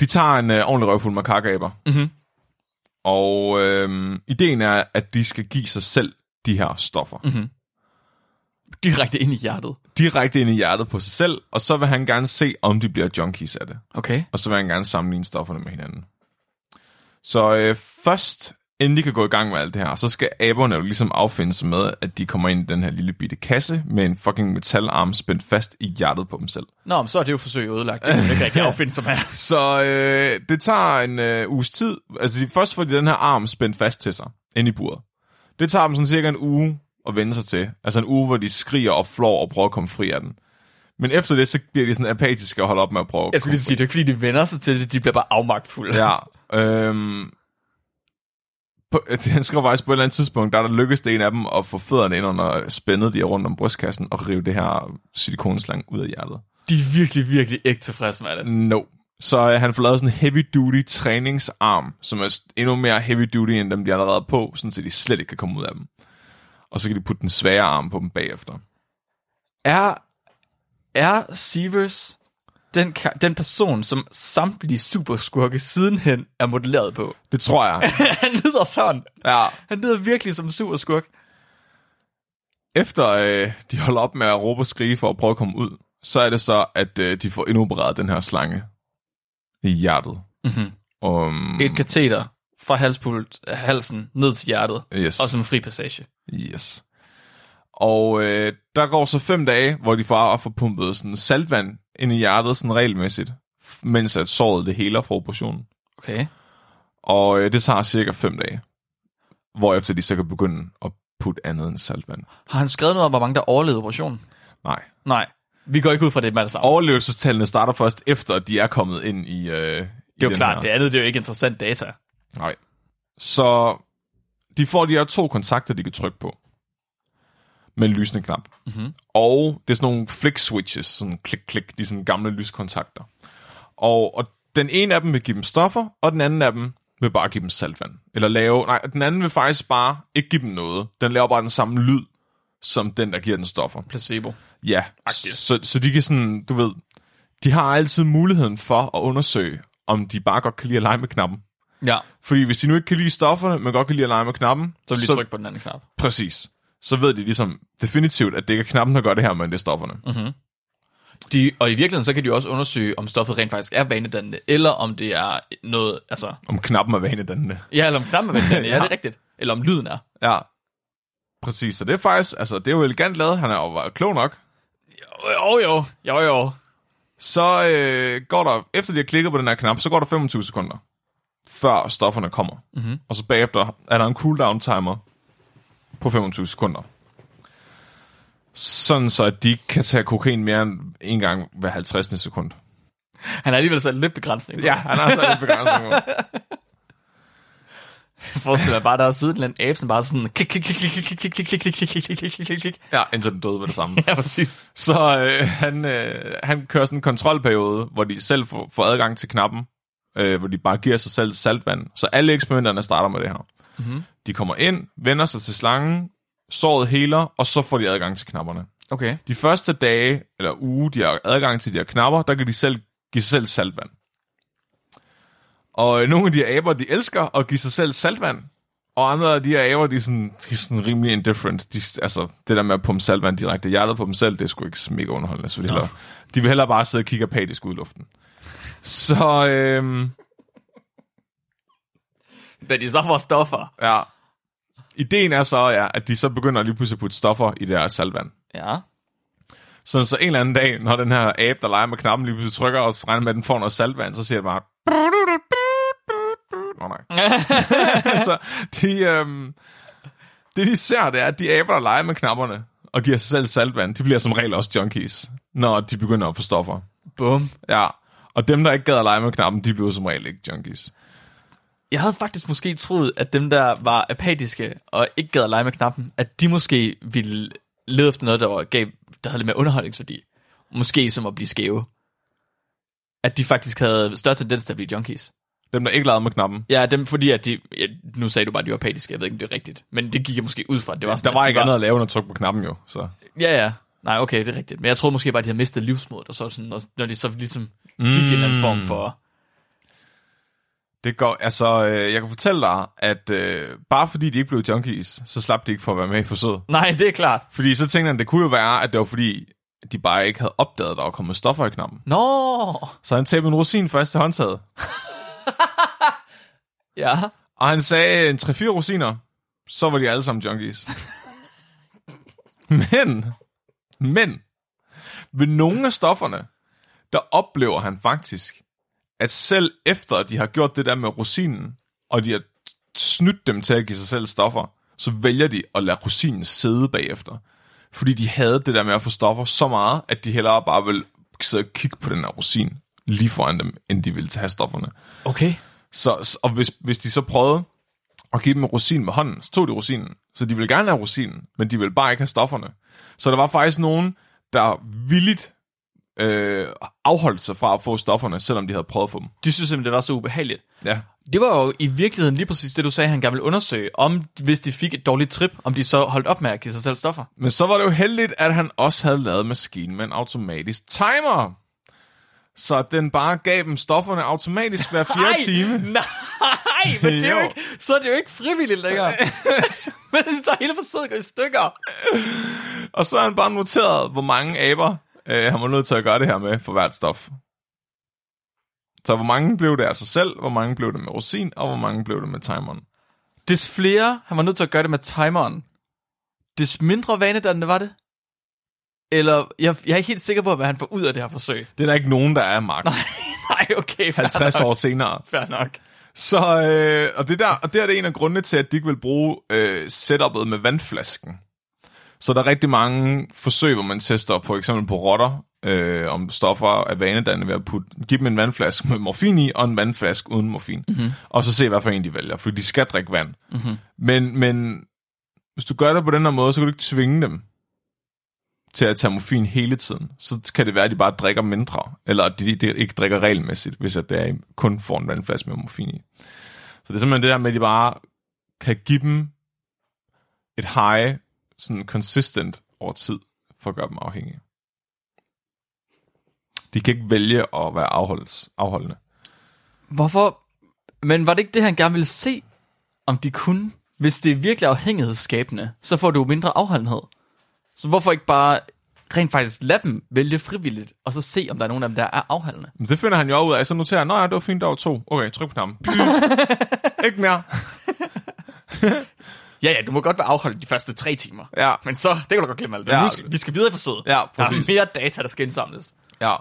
Speaker 1: De tager en øh, ordentlig røvfuld makakaber.
Speaker 2: Mhm.
Speaker 1: Og øh, ideen er, at de skal give sig selv de her stoffer. Mm-hmm.
Speaker 2: Direkte ind i hjertet.
Speaker 1: Direkte ind i hjertet på sig selv, og så vil han gerne se, om de bliver junkies af det.
Speaker 2: Okay.
Speaker 1: og så vil han gerne sammenligne stofferne med hinanden. Så øh, først, inden de kan gå i gang med alt det her, så skal aberne jo ligesom affinde sig med, at de kommer ind i den her lille bitte kasse med en fucking metalarm spændt fast i hjertet på dem selv.
Speaker 2: Nå, men så er det jo forsøg ødelagt. Det kan man ikke rigtig affinde som her.
Speaker 1: Så øh, det tager en øh, uges tid. Altså de, først får de den her arm spændt fast til sig, ind i buret. Det tager dem sådan cirka en uge at vende sig til. Altså en uge, hvor de skriger og flår og prøver at komme fri af den. Men efter det, så bliver de sådan apatiske og holder op med at prøve at
Speaker 2: Jeg skulle
Speaker 1: komme
Speaker 2: lige sige, det er ikke fordi, de vender sig til det. De bliver bare afmagtfulde.
Speaker 1: Ja. Øhm, på, han skriver faktisk på et eller andet tidspunkt, der, er der lykkedes det en af dem at få fødderne ind under spændet, de er rundt om brystkassen, og rive det her silikonslang ud af hjertet.
Speaker 2: De er virkelig, virkelig ikke tilfredse med det.
Speaker 1: No. Så øh, han får lavet sådan en heavy-duty træningsarm, som er st- endnu mere heavy-duty, end dem de allerede er på, sådan så de slet ikke kan komme ud af dem. Og så kan de putte den svære arm på dem bagefter.
Speaker 2: Er, er Severs den, ka- den person, som samtlige superskurke sidenhen er modelleret på?
Speaker 1: Det tror jeg.
Speaker 2: han lyder sådan.
Speaker 1: Ja.
Speaker 2: Han lyder virkelig som en superskurk.
Speaker 1: Efter øh, de holder op med at råbe og skrige for at prøve at komme ud, så er det så, at øh, de får indopereret den her slange i hjertet.
Speaker 2: Mhm.
Speaker 1: Um,
Speaker 2: Et kateter fra halspult, halsen ned til hjertet.
Speaker 1: yes.
Speaker 2: Og som en fri passage.
Speaker 1: yes. Og øh, der går så fem dage, hvor de får, får pumpet sådan saltvand ind i hjertet sådan regelmæssigt, mens at såret det hele proportionen.
Speaker 2: Okay.
Speaker 1: Og øh, det tager cirka 5 dage, hvorefter de så kan begynde at putte andet end saltvand.
Speaker 2: Har han skrevet noget om, hvor mange der overlevede operationen?
Speaker 1: Nej.
Speaker 2: Nej, vi går ikke ud fra det altså, med det samme.
Speaker 1: Overlevelsestallene starter først efter, at de er kommet ind i... Øh,
Speaker 2: Det er jo klart, det andet det er jo ikke interessant data.
Speaker 1: Nej. Så de får de her to kontakter, de kan trykke på. Med en lysende knap. Mm-hmm. Og det er sådan nogle flick switches, sådan klik, klik, de sådan gamle lyskontakter. Og, og den ene af dem vil give dem stoffer, og den anden af dem vil bare give dem saltvand. Eller lave, nej, den anden vil faktisk bare ikke give dem noget. Den laver bare den samme lyd, som den, der giver den stoffer.
Speaker 2: Placebo.
Speaker 1: Ja, så, så de kan sådan, du ved, de har altid muligheden for at undersøge, om de bare godt kan lide at lege med knappen.
Speaker 2: Ja,
Speaker 1: Fordi hvis de nu ikke kan lide stofferne, men godt kan lide at lege med knappen,
Speaker 2: så vil vi trykke på den anden knap.
Speaker 1: præcis, så ved de ligesom definitivt, at det ikke er knappen, der gør det her, men det er stofferne. Mm.
Speaker 2: De, og i virkeligheden, så kan de jo også undersøge, om stoffet rent faktisk er vanedannende, eller om det er noget, altså...
Speaker 1: Om knappen er vanedannende.
Speaker 2: Ja, eller om knappen er vanedannende, ja. ja,
Speaker 1: Ja.
Speaker 2: det er rigtigt. Eller om lyden er.
Speaker 1: Ja, præcis. Så det er faktisk, altså det er jo elegant lavet, han er jo var klog nok.
Speaker 2: Jo, jo, jo, jo.
Speaker 1: Så øh, går der, efter de har klikket på den her knap, så går der 25 sekunder, før stofferne kommer. Mm-hmm. Og så bagefter er der en cooldown timer på 25 sekunder. Sådan så, at de ikke kan tage kokain mere end en gang hver 50. sekund.
Speaker 2: Han har alligevel sat lidt begrænsning.
Speaker 1: Ja, han har så lidt begrænsning på.
Speaker 2: Jeg forestiller mig bare, der er siden en abe, som bare sådan klik, klik, klik, klik, klik, klik, klik, klik, klik, klik, klik, klik, klik, klik, klik, klik.
Speaker 1: Ja, indtil den døde med det samme.
Speaker 2: Ja, præcis.
Speaker 1: Så øh, han, øh, han kører sådan en kontrolperiode, hvor de selv får, får adgang til knappen, øh, hvor de bare giver sig selv saltvand. Så alle eksperimenterne starter med det her. Mm-hmm. De kommer ind, vender sig til slangen, såret heler, og så får de adgang til knapperne.
Speaker 2: Okay.
Speaker 1: De første dage, eller uge, de har adgang til de her knapper, der kan de selv give sig selv saltvand. Og øh, nogle af de her aber, de elsker at give sig selv saltvand, og andre af de her aber, de er sådan, de er sådan rimelig indifferent. De, altså, det der med at pumpe saltvand direkte i hjertet på dem selv, det er sgu ikke mega underholdende. Så de, hellere, de vil hellere bare sidde og kigge apatisk ud i luften. Så, øhm,
Speaker 2: Da de så får stoffer.
Speaker 1: ja. Ideen er så, ja, at de så begynder lige pludselig at putte stoffer i deres saltvand.
Speaker 2: Ja.
Speaker 1: Sådan så en eller anden dag, når den her abe, der leger med knappen, lige pludselig trykker og regner med, at den får noget saltvand, så siger det bare... Nå nej. så de, øhm, det de ser, det er, at de aber, der leger med knapperne og giver sig selv saltvand, de bliver som regel også junkies, når de begynder at få stoffer.
Speaker 2: Bum.
Speaker 1: Ja, og dem, der ikke gad at lege med knappen, de bliver som regel ikke junkies.
Speaker 2: Jeg havde faktisk måske troet, at dem, der var apatiske og ikke gad at lege med knappen, at de måske ville lede efter noget, der, var, gav, der havde lidt mere underholdningsværdi. Måske som at blive skæve. At de faktisk havde større tendens til at blive junkies.
Speaker 1: Dem, der ikke leger med knappen.
Speaker 2: Ja, dem fordi, at de... Ja, nu sagde du bare, at de var apatiske. Jeg ved ikke, om det er rigtigt. Men det gik jeg måske ud fra. at Det var sådan,
Speaker 1: Der var
Speaker 2: at Altså, de
Speaker 1: ikke andet at lave, end at trykke på knappen jo. Så.
Speaker 2: Ja, ja. Nej, okay, det er rigtigt. Men jeg troede måske bare, at de havde mistet livsmodet, og så sådan, når, når de så ligesom fik mm. en eller anden form for...
Speaker 1: Det går, altså, øh, jeg kan fortælle dig, at øh, bare fordi de ikke blev junkies, så slap de ikke for at være med i forsøget.
Speaker 2: Nej, det er klart.
Speaker 1: Fordi så tænkte han, det kunne jo være, at det var fordi, de bare ikke havde opdaget, at der var kommet stoffer i knappen.
Speaker 2: Nå!
Speaker 1: Så han tæppede en rosin først til håndtaget.
Speaker 2: Ja.
Speaker 1: Og han sagde en 3-4 rosiner, så var de alle sammen junkies. men, men, ved nogle af stofferne, der oplever han faktisk, at selv efter at de har gjort det der med rosinen, og de har snydt dem til at give sig selv stoffer, så vælger de at lade rosinen sidde bagefter. Fordi de havde det der med at få stoffer så meget, at de hellere bare ville sidde og kigge på den her rosin lige foran dem, end de ville tage stofferne.
Speaker 2: Okay.
Speaker 1: Så, s- og hvis, hvis de så prøvede at give dem en rosin med hånden, så tog de rosinen. Så de ville gerne have rosinen, men de ville bare ikke have stofferne. Så der var faktisk nogen, der villigt øh, afholdt sig fra at få stofferne, selvom de havde prøvet at få dem.
Speaker 2: De synes simpelthen, det var så ubehageligt.
Speaker 1: Ja.
Speaker 2: Det var jo i virkeligheden lige præcis det, du sagde, han gerne ville undersøge, om hvis de fik et dårligt trip, om de så holdt op med at give sig selv stoffer.
Speaker 1: Men så var det jo heldigt, at han også havde lavet maskinen med en automatisk timer. Så den bare gav dem stofferne automatisk hver fjerde
Speaker 2: Ej,
Speaker 1: time.
Speaker 2: Nej, men det er jo
Speaker 1: Jo.
Speaker 2: ikke, så er det jo ikke frivilligt længere. men så er hele forsøget gået i stykker.
Speaker 1: Og så har han bare noteret, hvor mange aber øh, han var nødt til at gøre det her med for hvert stof. Så hvor mange blev det af sig selv, hvor mange blev det med rosin, og hvor mange blev det med timeren.
Speaker 2: Des flere, han var nødt til at gøre det med timeren, des mindre vanedannende var det. Eller, jeg, jeg er ikke helt sikker på, hvad han får ud af det her forsøg.
Speaker 1: Det er der ikke nogen, der er, Mark.
Speaker 2: Nej, okay, fair
Speaker 1: 50
Speaker 2: nok.
Speaker 1: år senere.
Speaker 2: Fair nok.
Speaker 1: Så, øh, og, det der, og det er det en af grundene til, at de ikke vil bruge øh, setupet med vandflasken. Så der er rigtig mange forsøg, hvor man tester for eksempel på rotter, øh, om stoffer er vanedannende ved at putte, give dem en vandflaske med morfin i, og en vandflaske uden morfin. Mm-hmm. Og så se, hvad for en de vælger, for de skal drikke vand. Mm-hmm. Men, men hvis du gør det på den her måde, så kan du ikke tvinge dem til at tage morfin hele tiden. Så kan det være, at de bare drikker mindre, eller at de, de ikke drikker regelmæssigt, hvis at det er, kun får en vandflaske med morfin i. Så det er simpelthen det der med, at de bare kan give dem et high, sådan consistent over tid, for at gøre dem afhængige. De kan ikke vælge at være afholds, afholdende.
Speaker 2: Hvorfor? Men var det ikke det, han gerne ville se, om de kunne? Hvis det er virkelig afhængighedsskabende, så får du jo mindre afholdenhed. Så hvorfor ikke bare rent faktisk lade dem vælge frivilligt, og så se, om der er nogen af dem, der er afholdende?
Speaker 1: Men det finder han jo ud af, så noterer han, nej, det var fint, der var to. Okay, tryk på knappen. ikke mere.
Speaker 2: Ja, ja, du må godt være afholdt de første tre timer.
Speaker 1: Ja,
Speaker 2: Men så, det kan du godt glemme alt.
Speaker 1: Ja.
Speaker 2: Ja. Vi, skal, vi skal videre i forsøget.
Speaker 1: Ja, præcis.
Speaker 2: Der er mere data, der skal indsamles.
Speaker 1: ja.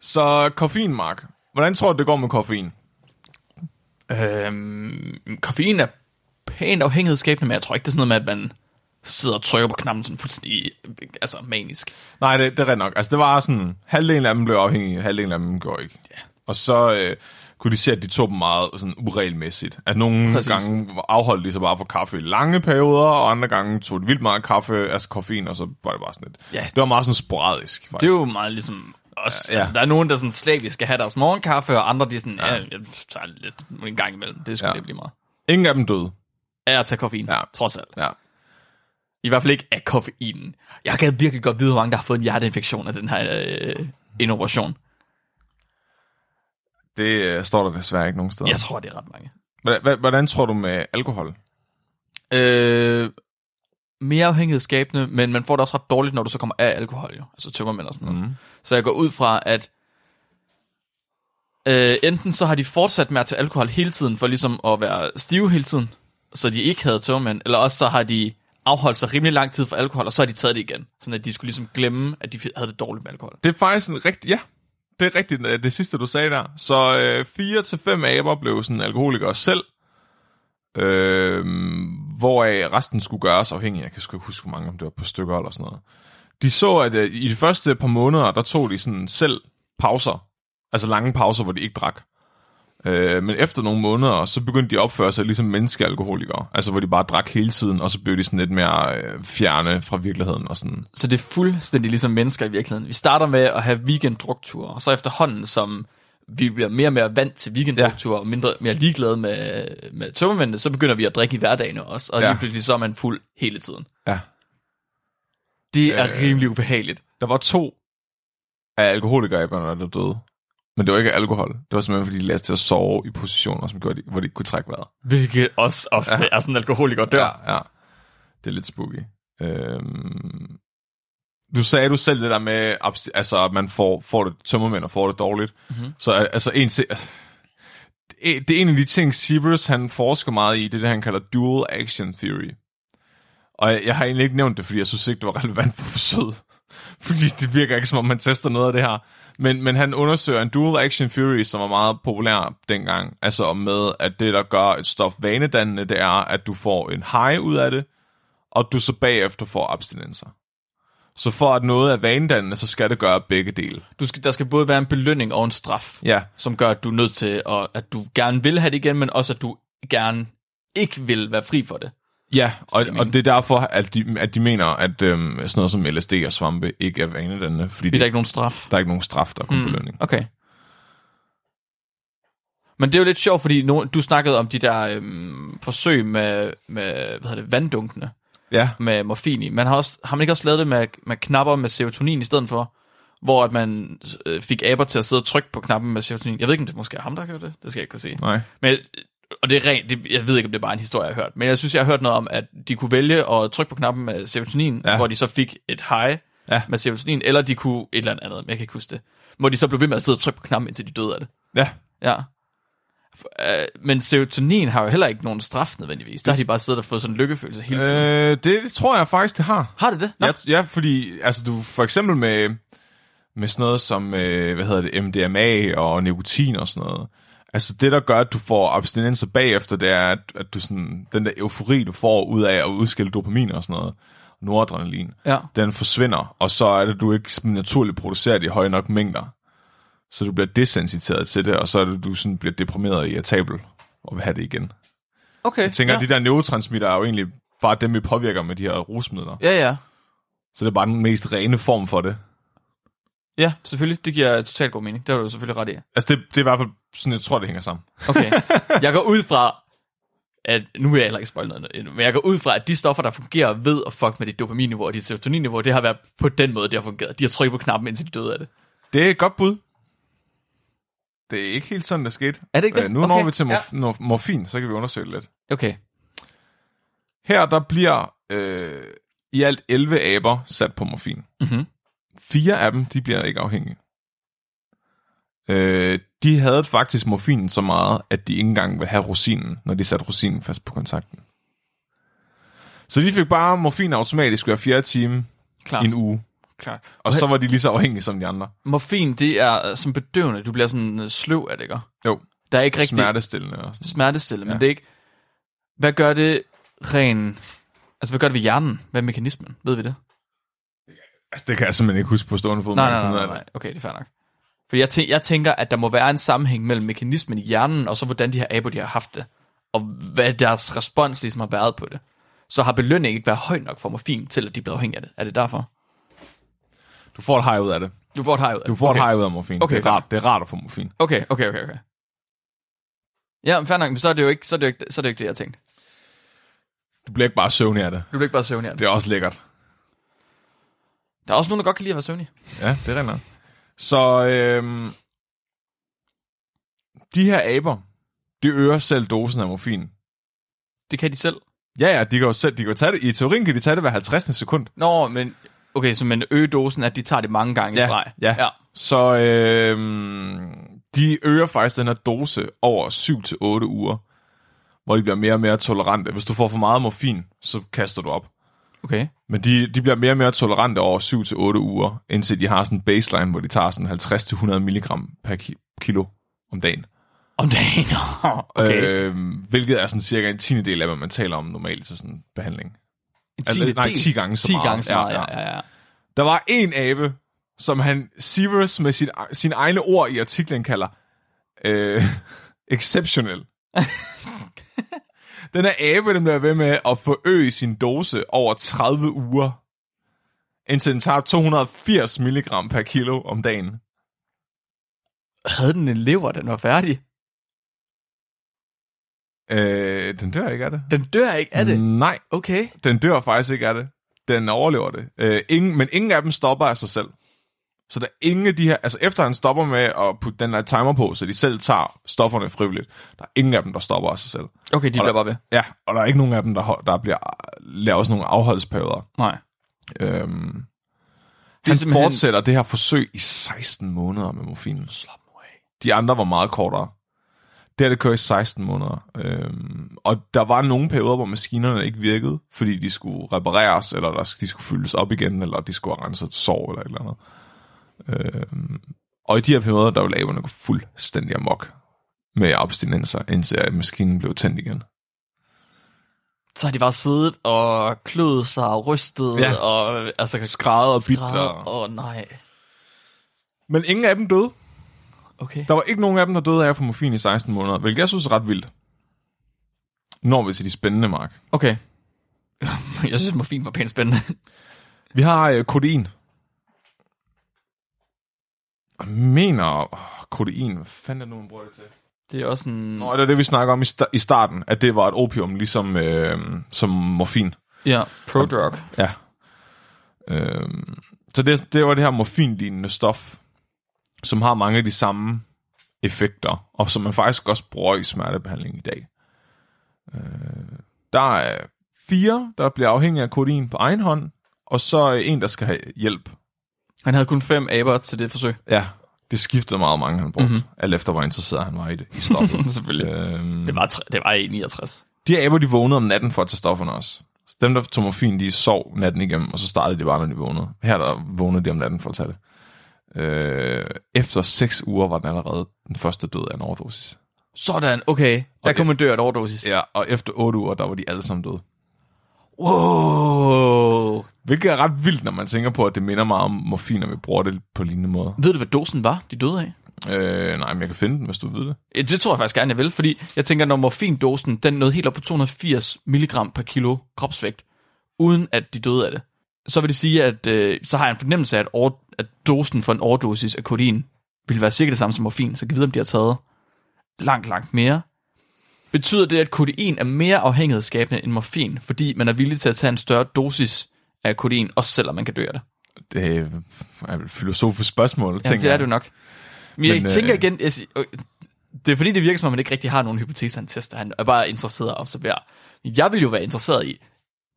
Speaker 1: Så koffein, Mark. Hvordan tror du, det går med koffein?
Speaker 2: Øhm, koffein er pænt afhængighedsskabende, men jeg tror ikke, det er sådan noget med, at man sidder og trykker på knappen sådan fuldstændig øh, altså, manisk.
Speaker 1: Nej, det, det er rigtigt nok. Altså, det var sådan, halvdelen af dem blev afhængige, halvdelen af dem gjorde ikke. Yeah. Og så øh, kunne de se, at de tog dem meget sådan, uregelmæssigt. At nogle Præcis.
Speaker 2: Præcis.
Speaker 1: gange afholdt de sig bare for kaffe i lange perioder, og andre gange tog de vildt meget kaffe, altså koffein, og så var det bare sådan lidt.
Speaker 2: Ja.
Speaker 1: Det var meget sådan sporadisk, faktisk.
Speaker 2: Det er jo meget ligesom os.
Speaker 1: Ja.
Speaker 2: Ja. Altså, der er nogen, der sådan slavisk skal have deres morgenkaffe, og andre de er sådan, ja, jeg tager lidt en gang imellem. Det skulle
Speaker 1: Ja.
Speaker 2: ja. blive meget.
Speaker 1: Ingen af dem døde.
Speaker 2: Af at tage koffein,
Speaker 1: Ja.
Speaker 2: ja. trods alt.
Speaker 1: Ja.
Speaker 2: I hvert fald ikke af koffeinen. Jeg kan virkelig godt vide, hvor mange, der har fået en hjerteinfektion af den her øh, innovation.
Speaker 1: Det øh, står der desværre ikke nogen steder.
Speaker 2: Jeg tror, det er ret mange.
Speaker 1: Hvordan, hva- hvordan tror du med alkohol?
Speaker 2: Øh, mere afhængighedsskabende, men man får det også ret dårligt, når du så kommer af alkohol, jo. altså tømmermænd og sådan noget. Mm. Så jeg går ud fra, at øh, enten så har de fortsat med at tage alkohol hele tiden, for ligesom at være stive hele tiden, så de ikke havde tømmermænd, eller også så har de afholdt sig rimelig lang tid for alkohol, og så har de taget det igen, sådan at de skulle ligesom glemme, at de havde det dårligt med alkohol.
Speaker 1: Det er faktisk en rigtig... Ja, det er rigtigt øh, det sidste, du sagde der. Så øh, fire til fem aber blev sådan alkoholikere selv, øh, hvoraf resten skulle gøres afhængig. Jeg kan sgu ikke huske, hvor mange om det var på stykker eller sådan noget. De så, at øh, i de første par måneder, der tog de sådan selv pauser. Altså lange pauser, hvor de ikke drak. Øh, men efter nogle måneder, så begyndte de at opføre sig ligesom menneskealkoholikere. Altså, hvor de bare drak hele tiden, og så blev de sådan lidt mere øh, fjerne fra virkeligheden og sådan.
Speaker 2: Så det er fuldstændig ligesom mennesker i virkeligheden. Vi starter med at have weekenddrukture, og så efterhånden, som vi bliver mere og mere vant til weekenddrukture, ja. og mindre, mere ligeglade med, med tømmermændene, så begynder vi at drikke i hverdagen også, og
Speaker 1: Ja.
Speaker 2: ja. lige pludselig så er man fuld hele tiden.
Speaker 1: Ja.
Speaker 2: Det er
Speaker 1: Øh.
Speaker 2: øh. rimelig ubehageligt.
Speaker 1: Der var to af alkoholikerne, der døde. Men det var ikke af alkohol. Det var simpelthen, fordi de lærte til at sove i positioner, som gjorde, de- hvor de ikke kunne trække vejret.
Speaker 2: Hvilket også ofte ja. er sådan en alkoholiker dør. Ja.
Speaker 1: ja. Det er lidt spooky. Øhm, du sagde du selv det der med, abs- altså, at man får, får det tømmermænd og får det dårligt. Mm-hmm. Så øh, altså, en til, det er en af de ting, Sievers han forsker meget i, det er det, han kalder dual action theory. Og jeg, jeg har egentlig ikke nævnt det, fordi jeg synes ikke, det var relevant for forsøget. Fordi det virker ikke, som om man tester noget af det her. Men, men han undersøger en dual action theory, som var meget populær dengang. Altså om med, at det, der gør et stof vanedannende, det er, at du får en high ud af det, og du så bagefter får abstinenser. Så for at noget er vanedannende, så skal det gøre begge dele.
Speaker 2: Du skal, der skal både være en belønning og en straf,
Speaker 1: Ja,
Speaker 2: som gør, at du er nødt til, at, at du gerne vil have det igen, men også at du gerne ikke vil være fri for det.
Speaker 1: Ja, og,
Speaker 2: det
Speaker 1: og
Speaker 2: mening.
Speaker 1: det er derfor, at de, at de mener, at øhm, sådan noget som LSD og svampe ikke er vanedannende, fordi
Speaker 2: Det er der
Speaker 1: det,
Speaker 2: ikke nogen straf.
Speaker 1: der er ikke nogen straf, der er kun mm. belønning.
Speaker 2: Okay. Men det er jo lidt sjovt, fordi no, du snakkede om de der øhm, forsøg med, med hvad hedder det, vanddunkene
Speaker 1: Ja,
Speaker 2: med morfin i. Man har, også, har man ikke også lavet det med, med knapper med serotonin i stedet for? Hvor at man øh, fik aber til at sidde og trykke på knappen med serotonin. Jeg ved ikke, om det måske er ham, der gjorde det. Det skal jeg ikke kunne sige.
Speaker 1: nej.
Speaker 2: Men, øh, og det er rent, det, jeg ved ikke, om det er bare en historie, jeg har hørt. Men jeg synes, jeg har hørt noget om, at de kunne vælge at trykke på knappen med serotonin,
Speaker 1: Ja.
Speaker 2: ja. hvor de så fik et high
Speaker 1: Ja.
Speaker 2: ja. med serotonin, eller de kunne et eller andet, men jeg kan ikke huske det. Hvor de så blev ved med at sidde og trykke på knappen, indtil de døde af det.
Speaker 1: Ja,
Speaker 2: Ja. F- øh, Men serotonin har jo heller ikke nogen straf nødvendigvis. Der har de bare siddet og fået sådan en lykkefølelse hele tiden. Øh,
Speaker 1: øh, det, det tror jeg faktisk, det har.
Speaker 2: har det det? Nå.
Speaker 1: Ja, ja, fordi altså, du for eksempel med, med sådan noget som, øh, hvad hedder det, MDMA og nikotin og sådan noget, Altså det, der gør, at du får abstinenser bagefter, det er, at, at du sådan, den der eufori, du får ud af at udskille dopamin og sådan noget, noradrenalin,
Speaker 2: Ja.
Speaker 1: den forsvinder, og så er det, du ikke sådan naturligt producerer det i høje nok mængder. Så du bliver desensiteret til det, og så er det, du sådan bliver deprimeret og irritabel og vil have det igen.
Speaker 2: Okay.
Speaker 1: Jeg tænker,
Speaker 2: ja.
Speaker 1: ja. at de der neurotransmitter er jo egentlig bare dem, vi påvirker med de her rusmidler.
Speaker 2: Ja, ja.
Speaker 1: Så det er bare den mest rene form for det.
Speaker 2: Ja, selvfølgelig. Det giver totalt god mening. Det har du selvfølgelig ret i.
Speaker 1: Altså det, det er i hvert fald sådan, jeg tror, det hænger sammen.
Speaker 2: Okay. Jeg går ud fra, at nu vil jeg heller ikke spoil noget endnu, men jeg går ud fra, at de stoffer, der fungerer ved at fuck med dit dopaminniveau og dit serotoninniveau, det har været på den måde, det har fungeret. De har trykket på knappen, indtil de døde af det.
Speaker 1: Det er et godt bud. Det er ikke helt sådan, det skete.
Speaker 2: Er det ikke det?
Speaker 1: Øh, Nu
Speaker 2: Okay,
Speaker 1: når vi til
Speaker 2: ja.
Speaker 1: morf- ja. morfin, så kan vi undersøge det lidt.
Speaker 2: Okay.
Speaker 1: Her der bliver øh, i alt 11 aber sat på morfin.
Speaker 2: Mm-hmm.
Speaker 1: Fire af dem, de bliver ikke afhængige. Øh, de havde faktisk morfinen så meget, at de ikke engang ville have rosinen, når de satte rosinen fast på kontakten. Så de fik bare morfin automatisk hver fjerde time
Speaker 2: Klar.
Speaker 1: i en uge.
Speaker 2: klar.
Speaker 1: Og så var de lige så afhængige som de andre.
Speaker 2: Morfin, det er øh, som bedøvende. Du bliver sådan øh, sløv af det, ikke?
Speaker 1: Jo,
Speaker 2: Der er ikke rigtig
Speaker 1: smertestillende og sådan.
Speaker 2: smertestille, ja.
Speaker 1: Ja.
Speaker 2: men det er ikke... Hvad gør det ren... Altså, hvad gør det ved hjernen? Hvad er mekanismen? Ved vi det?
Speaker 1: Altså, det kan jeg simpelthen ikke huske på stående fod.
Speaker 2: Nej,
Speaker 1: men jeg
Speaker 2: nej,
Speaker 1: finder ud
Speaker 2: nej,
Speaker 1: af
Speaker 2: nej, nej. Okay, det er fair nok. Fordi jeg, tæ- jeg tænker, at der må være en sammenhæng mellem mekanismen i hjernen, og så hvordan de her aber, de har haft det. Og hvad deres respons ligesom har været på det. Så har belønningen ikke været høj nok for morfin, til at de bliver afhængige af det. Er det derfor?
Speaker 1: det. Du får et high ud af det.
Speaker 2: Du får et hej ud af
Speaker 1: Du får okay.
Speaker 2: okay.
Speaker 1: et high ud af morfin.
Speaker 2: Okay,
Speaker 1: det, er
Speaker 2: fair.
Speaker 1: rart, det er rart at få morfin.
Speaker 2: Okay, okay, okay, okay. Ja, men fair nok, men så er det jo ikke, så er det jo ikke, så er det jo ikke det, jeg tænkte.
Speaker 1: Du bliver ikke bare søvnig af det.
Speaker 2: Du bliver ikke bare søvnig af det.
Speaker 1: Det er også lækkert.
Speaker 2: Der er også nogen, der godt kan lide at være søvnig.
Speaker 1: Ja, det er rent nok. Så øhm, de her aber, de øger selv dosen af morfin.
Speaker 2: Det kan de selv.
Speaker 1: Ja, ja, de kan jo selv, de kan jo tage det. I teorien kan de tage det hver 50. sekund.
Speaker 2: Nå, men okay, så men øge dosen, at de tager det mange gange
Speaker 1: Ja,
Speaker 2: i streg.
Speaker 1: ja.
Speaker 2: ja.
Speaker 1: Så øhm, de øger faktisk den her dose over 7 til 8 uger, hvor de bliver mere og mere tolerante. Hvis du får for meget morfin, så kaster du op.
Speaker 2: Okay.
Speaker 1: Men de, de bliver mere og mere tolerante over 7-8 uger, indtil de har sådan en baseline, hvor de tager sådan 50-100 milligram per ki- kilo om dagen.
Speaker 2: Om dagen. Nå, okay. Øh,
Speaker 1: Øh, hvilket er sådan cirka en tiende del af, hvad man taler om normalt til sådan en behandling.
Speaker 2: en
Speaker 1: altså, nej, 10 gange så
Speaker 2: 10
Speaker 1: meget.
Speaker 2: gange så
Speaker 1: Ja,
Speaker 2: meget,
Speaker 1: ja.
Speaker 2: ja, ja, ja.
Speaker 1: Der var en abe, som han Severs med sin, sin egne ord i artiklen kalder øh, exceptionel. den her abe, den bliver ved med at forøge sin dose over 30 uger, indtil den tager 280 milligram per kilo om dagen.
Speaker 2: Havde den en lever, den var færdig?
Speaker 1: Øh, den dør ikke af det.
Speaker 2: Den dør ikke af det. Mm.
Speaker 1: Nej,
Speaker 2: Okay.
Speaker 1: den dør faktisk ikke af det. Den overlever det. Øh, ingen, men ingen af dem stopper af sig selv. Så der er ingen af de her... Altså efter han stopper med at putte den der timer på, så de selv tager stofferne frivilligt, der er ingen af dem, der stopper af sig selv.
Speaker 2: Okay, de
Speaker 1: Og
Speaker 2: bliver
Speaker 1: der-
Speaker 2: bare ved.
Speaker 1: Ja, og der er ikke nogen af dem, der, hold- der bliver, laver også nogle afholdsperioder.
Speaker 2: Nej.
Speaker 1: Øhm,
Speaker 2: Det
Speaker 1: han
Speaker 2: er simpelthen-
Speaker 1: fortsætter det her forsøg i 16 måneder med morfinen.
Speaker 2: Slap nu af.
Speaker 1: De andre var meget kortere. Det her, det kører i 16 måneder. Øhm, og der var nogle perioder, hvor maskinerne ikke virkede, fordi de skulle repareres, eller der, de skulle fyldes op igen, eller de skulle have renset et sår, eller et eller andet. Øhm, og i de her perioder, der ville aberne gå fuldstændig amok med abstinenser, indtil at maskinen blev tændt igen.
Speaker 2: Så har de bare siddet og kløet sig og rystet
Speaker 1: Ja.
Speaker 2: ja. og altså,
Speaker 1: Skrædder og bidt.
Speaker 2: skrædder.
Speaker 1: Og...
Speaker 2: Åh oh, nej.
Speaker 1: Men ingen af dem døde.
Speaker 2: Okay.
Speaker 1: Der var ikke nogen af dem, der døde af at få morfin i 16 måneder, hvilket jeg synes er ret vildt. Når vi til de spændende, Mark.
Speaker 2: Okay. Jeg synes, morfin var pænt spændende.
Speaker 1: Vi har øh, kodein. Jeg mener, åh, kodein, hvad fanden er det nu, man bruger det til?
Speaker 2: Det er også en...
Speaker 1: Nå, det er det, vi snakker om i, sta- i starten, at det var et opium, ligesom øh, som morfin.
Speaker 2: Ja, prodrug.
Speaker 1: Ja. Øh, så det, det var det her morfinlignende stof, som har mange af de samme effekter, og som man faktisk også bruger i smertebehandling i dag. Øh, der er fire, der bliver afhængige af kodein på egen hånd, og så øh, en, der skal have hjælp
Speaker 2: Han havde kun fem aber til det forsøg.
Speaker 1: Ja, det skiftede meget mange, han brugte. Mm-hmm. Alt efter, hvor interesseret han var i det i stoffet.
Speaker 2: Selvfølgelig.
Speaker 1: øhm,
Speaker 2: Det var, tre- det var 69.
Speaker 1: de aber, de vågnede om natten for at tage stofferne også. Så Dem, der tog morfin, de sov natten igennem, og så startede de bare, når de vågnede. Her der vågnede de om natten for at tage det. Øh, efter seks uger var den allerede den første død af en overdosis.
Speaker 2: Sådan, okay. Der
Speaker 1: det-
Speaker 2: kunne man dø af et overdosis.
Speaker 1: Ja, og efter 8 uger, der var de alle sammen døde.
Speaker 2: Wow.
Speaker 1: Hvilket er ret vildt, når man tænker på, at det minder meget om morfin, når vi bruger det på lignende måder.
Speaker 2: Ved du, hvad dosen var, de døde af?
Speaker 1: Øh, nej, men jeg kan finde den, hvis du ved det.
Speaker 2: Ja, Det tror jeg faktisk gerne, jeg vil, fordi jeg tænker, når morfindosen, den nåede helt op på 280 mg per kilo kropsvægt, uden at de døde af det, så vil det sige, at øh, så har jeg en fornemmelse af, at, over, at dosen for en overdosis af kodein vil være cirka det samme som morfin, så kan jeg vide, om de har taget langt, langt mere. Betyder det, at kodein er mere afhængighedsskabende end morfin, fordi man er villig til at tage en større dosis af kodein, også selvom man kan dø af det?
Speaker 1: Det er et filosofisk spørgsmål,
Speaker 2: Ja,
Speaker 1: tænker
Speaker 2: det er
Speaker 1: jeg.
Speaker 2: du nok. Men jeg
Speaker 1: Men,
Speaker 2: Men,
Speaker 1: øh,
Speaker 2: tænker igen, jeg siger, øh, det er fordi, det virker som om, man ikke rigtig har nogen hypoteser, han tester. Han er bare interesseret at observere. Jeg vil jo være interesseret i,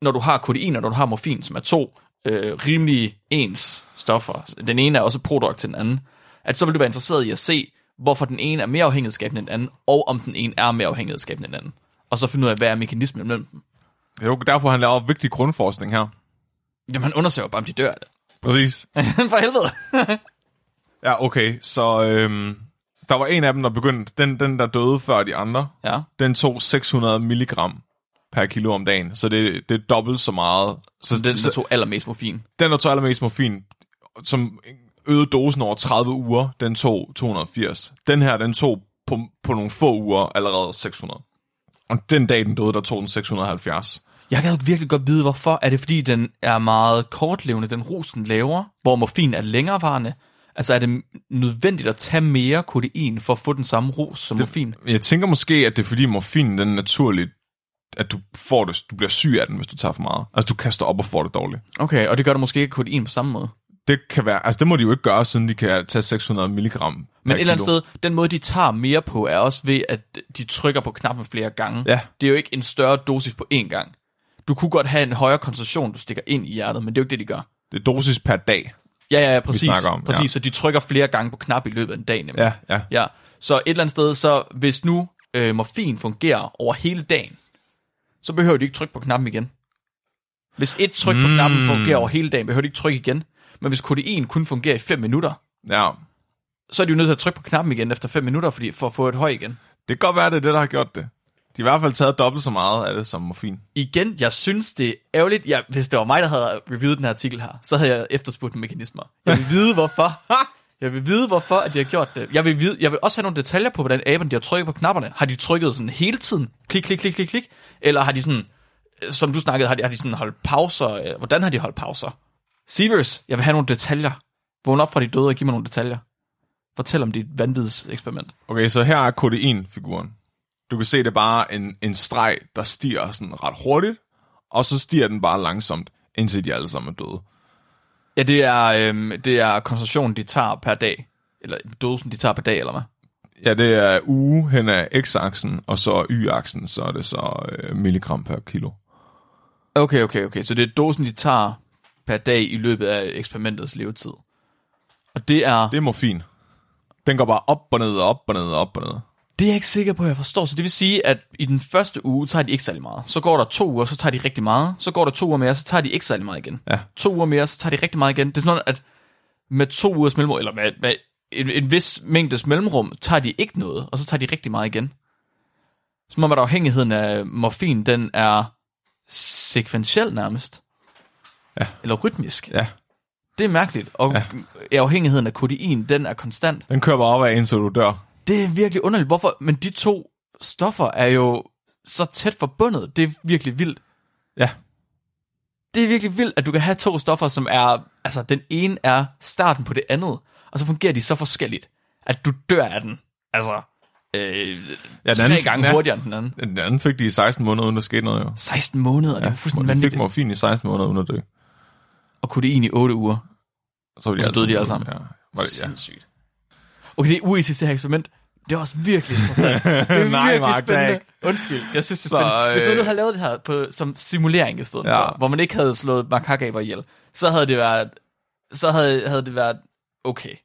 Speaker 2: når du har kodein og når du har morfin, som er to øh, rimelig ens stoffer, den ene er også produkt til den anden, at så vil du være interesseret i at se, hvorfor den ene er mere afhængighedsskabende end den anden, og om den ene er mere afhængighedsskabende end den anden. Og så finde ud af, hvad er mekanismen mellem dem.
Speaker 1: Det er jo derfor, han laver vigtig grundforskning her.
Speaker 2: Jamen, han undersøger bare, om de dør af det.
Speaker 1: Præcis.
Speaker 2: For helvede.
Speaker 1: Ja, okay, så øhm, der var en af dem, der begyndte, den, den der døde før de andre,
Speaker 2: Ja.
Speaker 1: den tog 600 milligram per kilo om dagen, så det, det er dobbelt så meget. Så
Speaker 2: Den, der tog allermest morfin.
Speaker 1: den, der tog allermest morfin, som øgede dosen over 30 uger, den tog 280. Den her, den tog på, på nogle få uger allerede 600. Og den dag, den døde, der tog den 670.
Speaker 2: Jeg gad virkelig godt vide, hvorfor. Er det, fordi den er meget kortlevende, den rus, den laver, hvor morfin er længerevarende? Altså, er det nødvendigt at tage mere kodein for at få den samme rus som morfin?
Speaker 1: Jeg tænker måske, at det er fordi morfinen, den er naturligt, at du, får det, du bliver syg af den, hvis du tager for meget. Altså, du kaster op og får det dårligt.
Speaker 2: Okay, og det gør det måske ikke kodein på samme måde.
Speaker 1: Det kan være, altså det må de jo ikke gøre, siden de kan tage 600 milligram per
Speaker 2: Men et eller andet
Speaker 1: kilo.
Speaker 2: sted, den måde, de tager mere på, er også ved, at de trykker på knappen flere gange.
Speaker 1: Ja.
Speaker 2: Det er jo ikke en større dosis på én gang. Du kunne godt have en højere koncentration, du stikker ind i hjertet, men det er jo ikke det, de gør.
Speaker 1: Det er dosis per dag.
Speaker 2: Ja, ja, ja, præcis.
Speaker 1: snakker om, ja.
Speaker 2: præcis, så de trykker flere gange på knap i løbet af en dag, nemlig.
Speaker 1: Ja, ja.
Speaker 2: Ja, så et eller andet sted, så hvis nu øh, morfin fungerer over hele dagen, så behøver du ikke trykke på knappen igen. Hvis et tryk mm. på knappen fungerer over hele dagen, behøver du ikke trykke igen. Men hvis kodein kun fungerer i 5 minutter,
Speaker 1: ja.
Speaker 2: så er de jo nødt til at trykke på knappen igen efter 5 minutter, fordi, for at få et høj igen.
Speaker 1: Det kan godt være, det er det, der har gjort det. De har i hvert fald taget dobbelt så meget af det som morfin.
Speaker 2: Igen, jeg synes, det er ærgerligt. Ja, hvis det var mig, der havde reviewet den her artikel her, så havde jeg efterspurgt mekanismer. Jeg vil vide, hvorfor. Jeg vil vide, hvorfor at de har gjort det. Jeg vil, vide, jeg vil også have nogle detaljer på, hvordan aben de har trykket på knapperne. Har de trykket sådan hele tiden? Klik, klik, klik, klik, klik? Eller har de sådan, øh, som du snakkede, har de, har de sådan holdt pauser? Øh, Hvordan har de holdt pauser? Sievers, jeg vil have nogle detaljer. Vågn op fra de døde og giv mig nogle detaljer. Fortæl om dit vanvidseksperiment.
Speaker 1: Okay, så her er kodeinfiguren. Du kan se, det er bare en, en streg, der stiger sådan ret hurtigt, og så stiger den bare langsomt, indtil de alle sammen er døde.
Speaker 2: Ja, det er, øhm, det er koncentrationen, de tager per dag. Eller dosen, de tager per dag, eller hvad?
Speaker 1: Ja, det er uge hen ad x-aksen, og så y-aksen, så er det så øh, milligram per kilo.
Speaker 2: Okay, okay, okay. Så det er dosen, de tager per dag i løbet af eksperimentets levetid. Og det er...
Speaker 1: Det er morfin. Den går bare op og ned, og op og ned, og op og ned.
Speaker 2: Det er jeg ikke sikker på, at jeg forstår. Så det vil sige, at i den første uge tager de ikke særlig meget. Så går der to uger, så tager de rigtig meget. Så går der to uger mere, så tager de ikke særlig meget igen.
Speaker 1: Ja.
Speaker 2: To uger mere, så tager de rigtig meget igen. Det er sådan, at med to ugers mellemrum, eller med, med en, en vis mængdes mellemrum, tager de ikke noget, og så tager de rigtig meget igen. Som om, at afhængigheden af morfin, den er sekventiel nærmest.
Speaker 1: Ja.
Speaker 2: Eller rytmisk.
Speaker 1: Ja,
Speaker 2: Det er mærkeligt. Og ja. afhængigheden af kodein, den er konstant.
Speaker 1: den kører bare op af, indtil du dør.
Speaker 2: Det er virkelig underligt. Hvorfor? Men de to stoffer er jo så tæt forbundet. Det er virkelig vildt.
Speaker 1: Ja,
Speaker 2: Det er virkelig vildt, at du kan have to stoffer, som er... Altså, den ene er starten på det andet, og så fungerer de så forskelligt, at du dør af den. Altså, øh, ja, tre
Speaker 1: anden-
Speaker 2: gange
Speaker 1: ja.
Speaker 2: hurtigere end den anden.
Speaker 1: den anden fik de i 16 måneder, uden der skete noget jo.
Speaker 2: 16 måneder, ja, det er
Speaker 1: Og
Speaker 2: fuldstændig
Speaker 1: de fik
Speaker 2: vanvittigt.
Speaker 1: morfin i 16 måneder, uden at dø.
Speaker 2: Og kunne det egentlig 8 uger?
Speaker 1: Så, var
Speaker 2: Og så døde de alle
Speaker 1: Ja. Var det, ja.
Speaker 2: Sindssygt. Okay, det er uetisk, det her eksperiment. Det er også virkelig interessant. Det er
Speaker 1: Nej,
Speaker 2: virkelig
Speaker 1: Mark, det er
Speaker 2: spændende.
Speaker 1: ikke.
Speaker 2: Undskyld, jeg synes, det er
Speaker 1: Så,
Speaker 2: spændende. Hvis man
Speaker 1: øh,
Speaker 2: nu havde lavet det her på, som simulering i stedet
Speaker 1: Ja.
Speaker 2: ja. for, hvor man ikke havde slået makakaber ihjel, så havde det været, så havde, havde det været okay.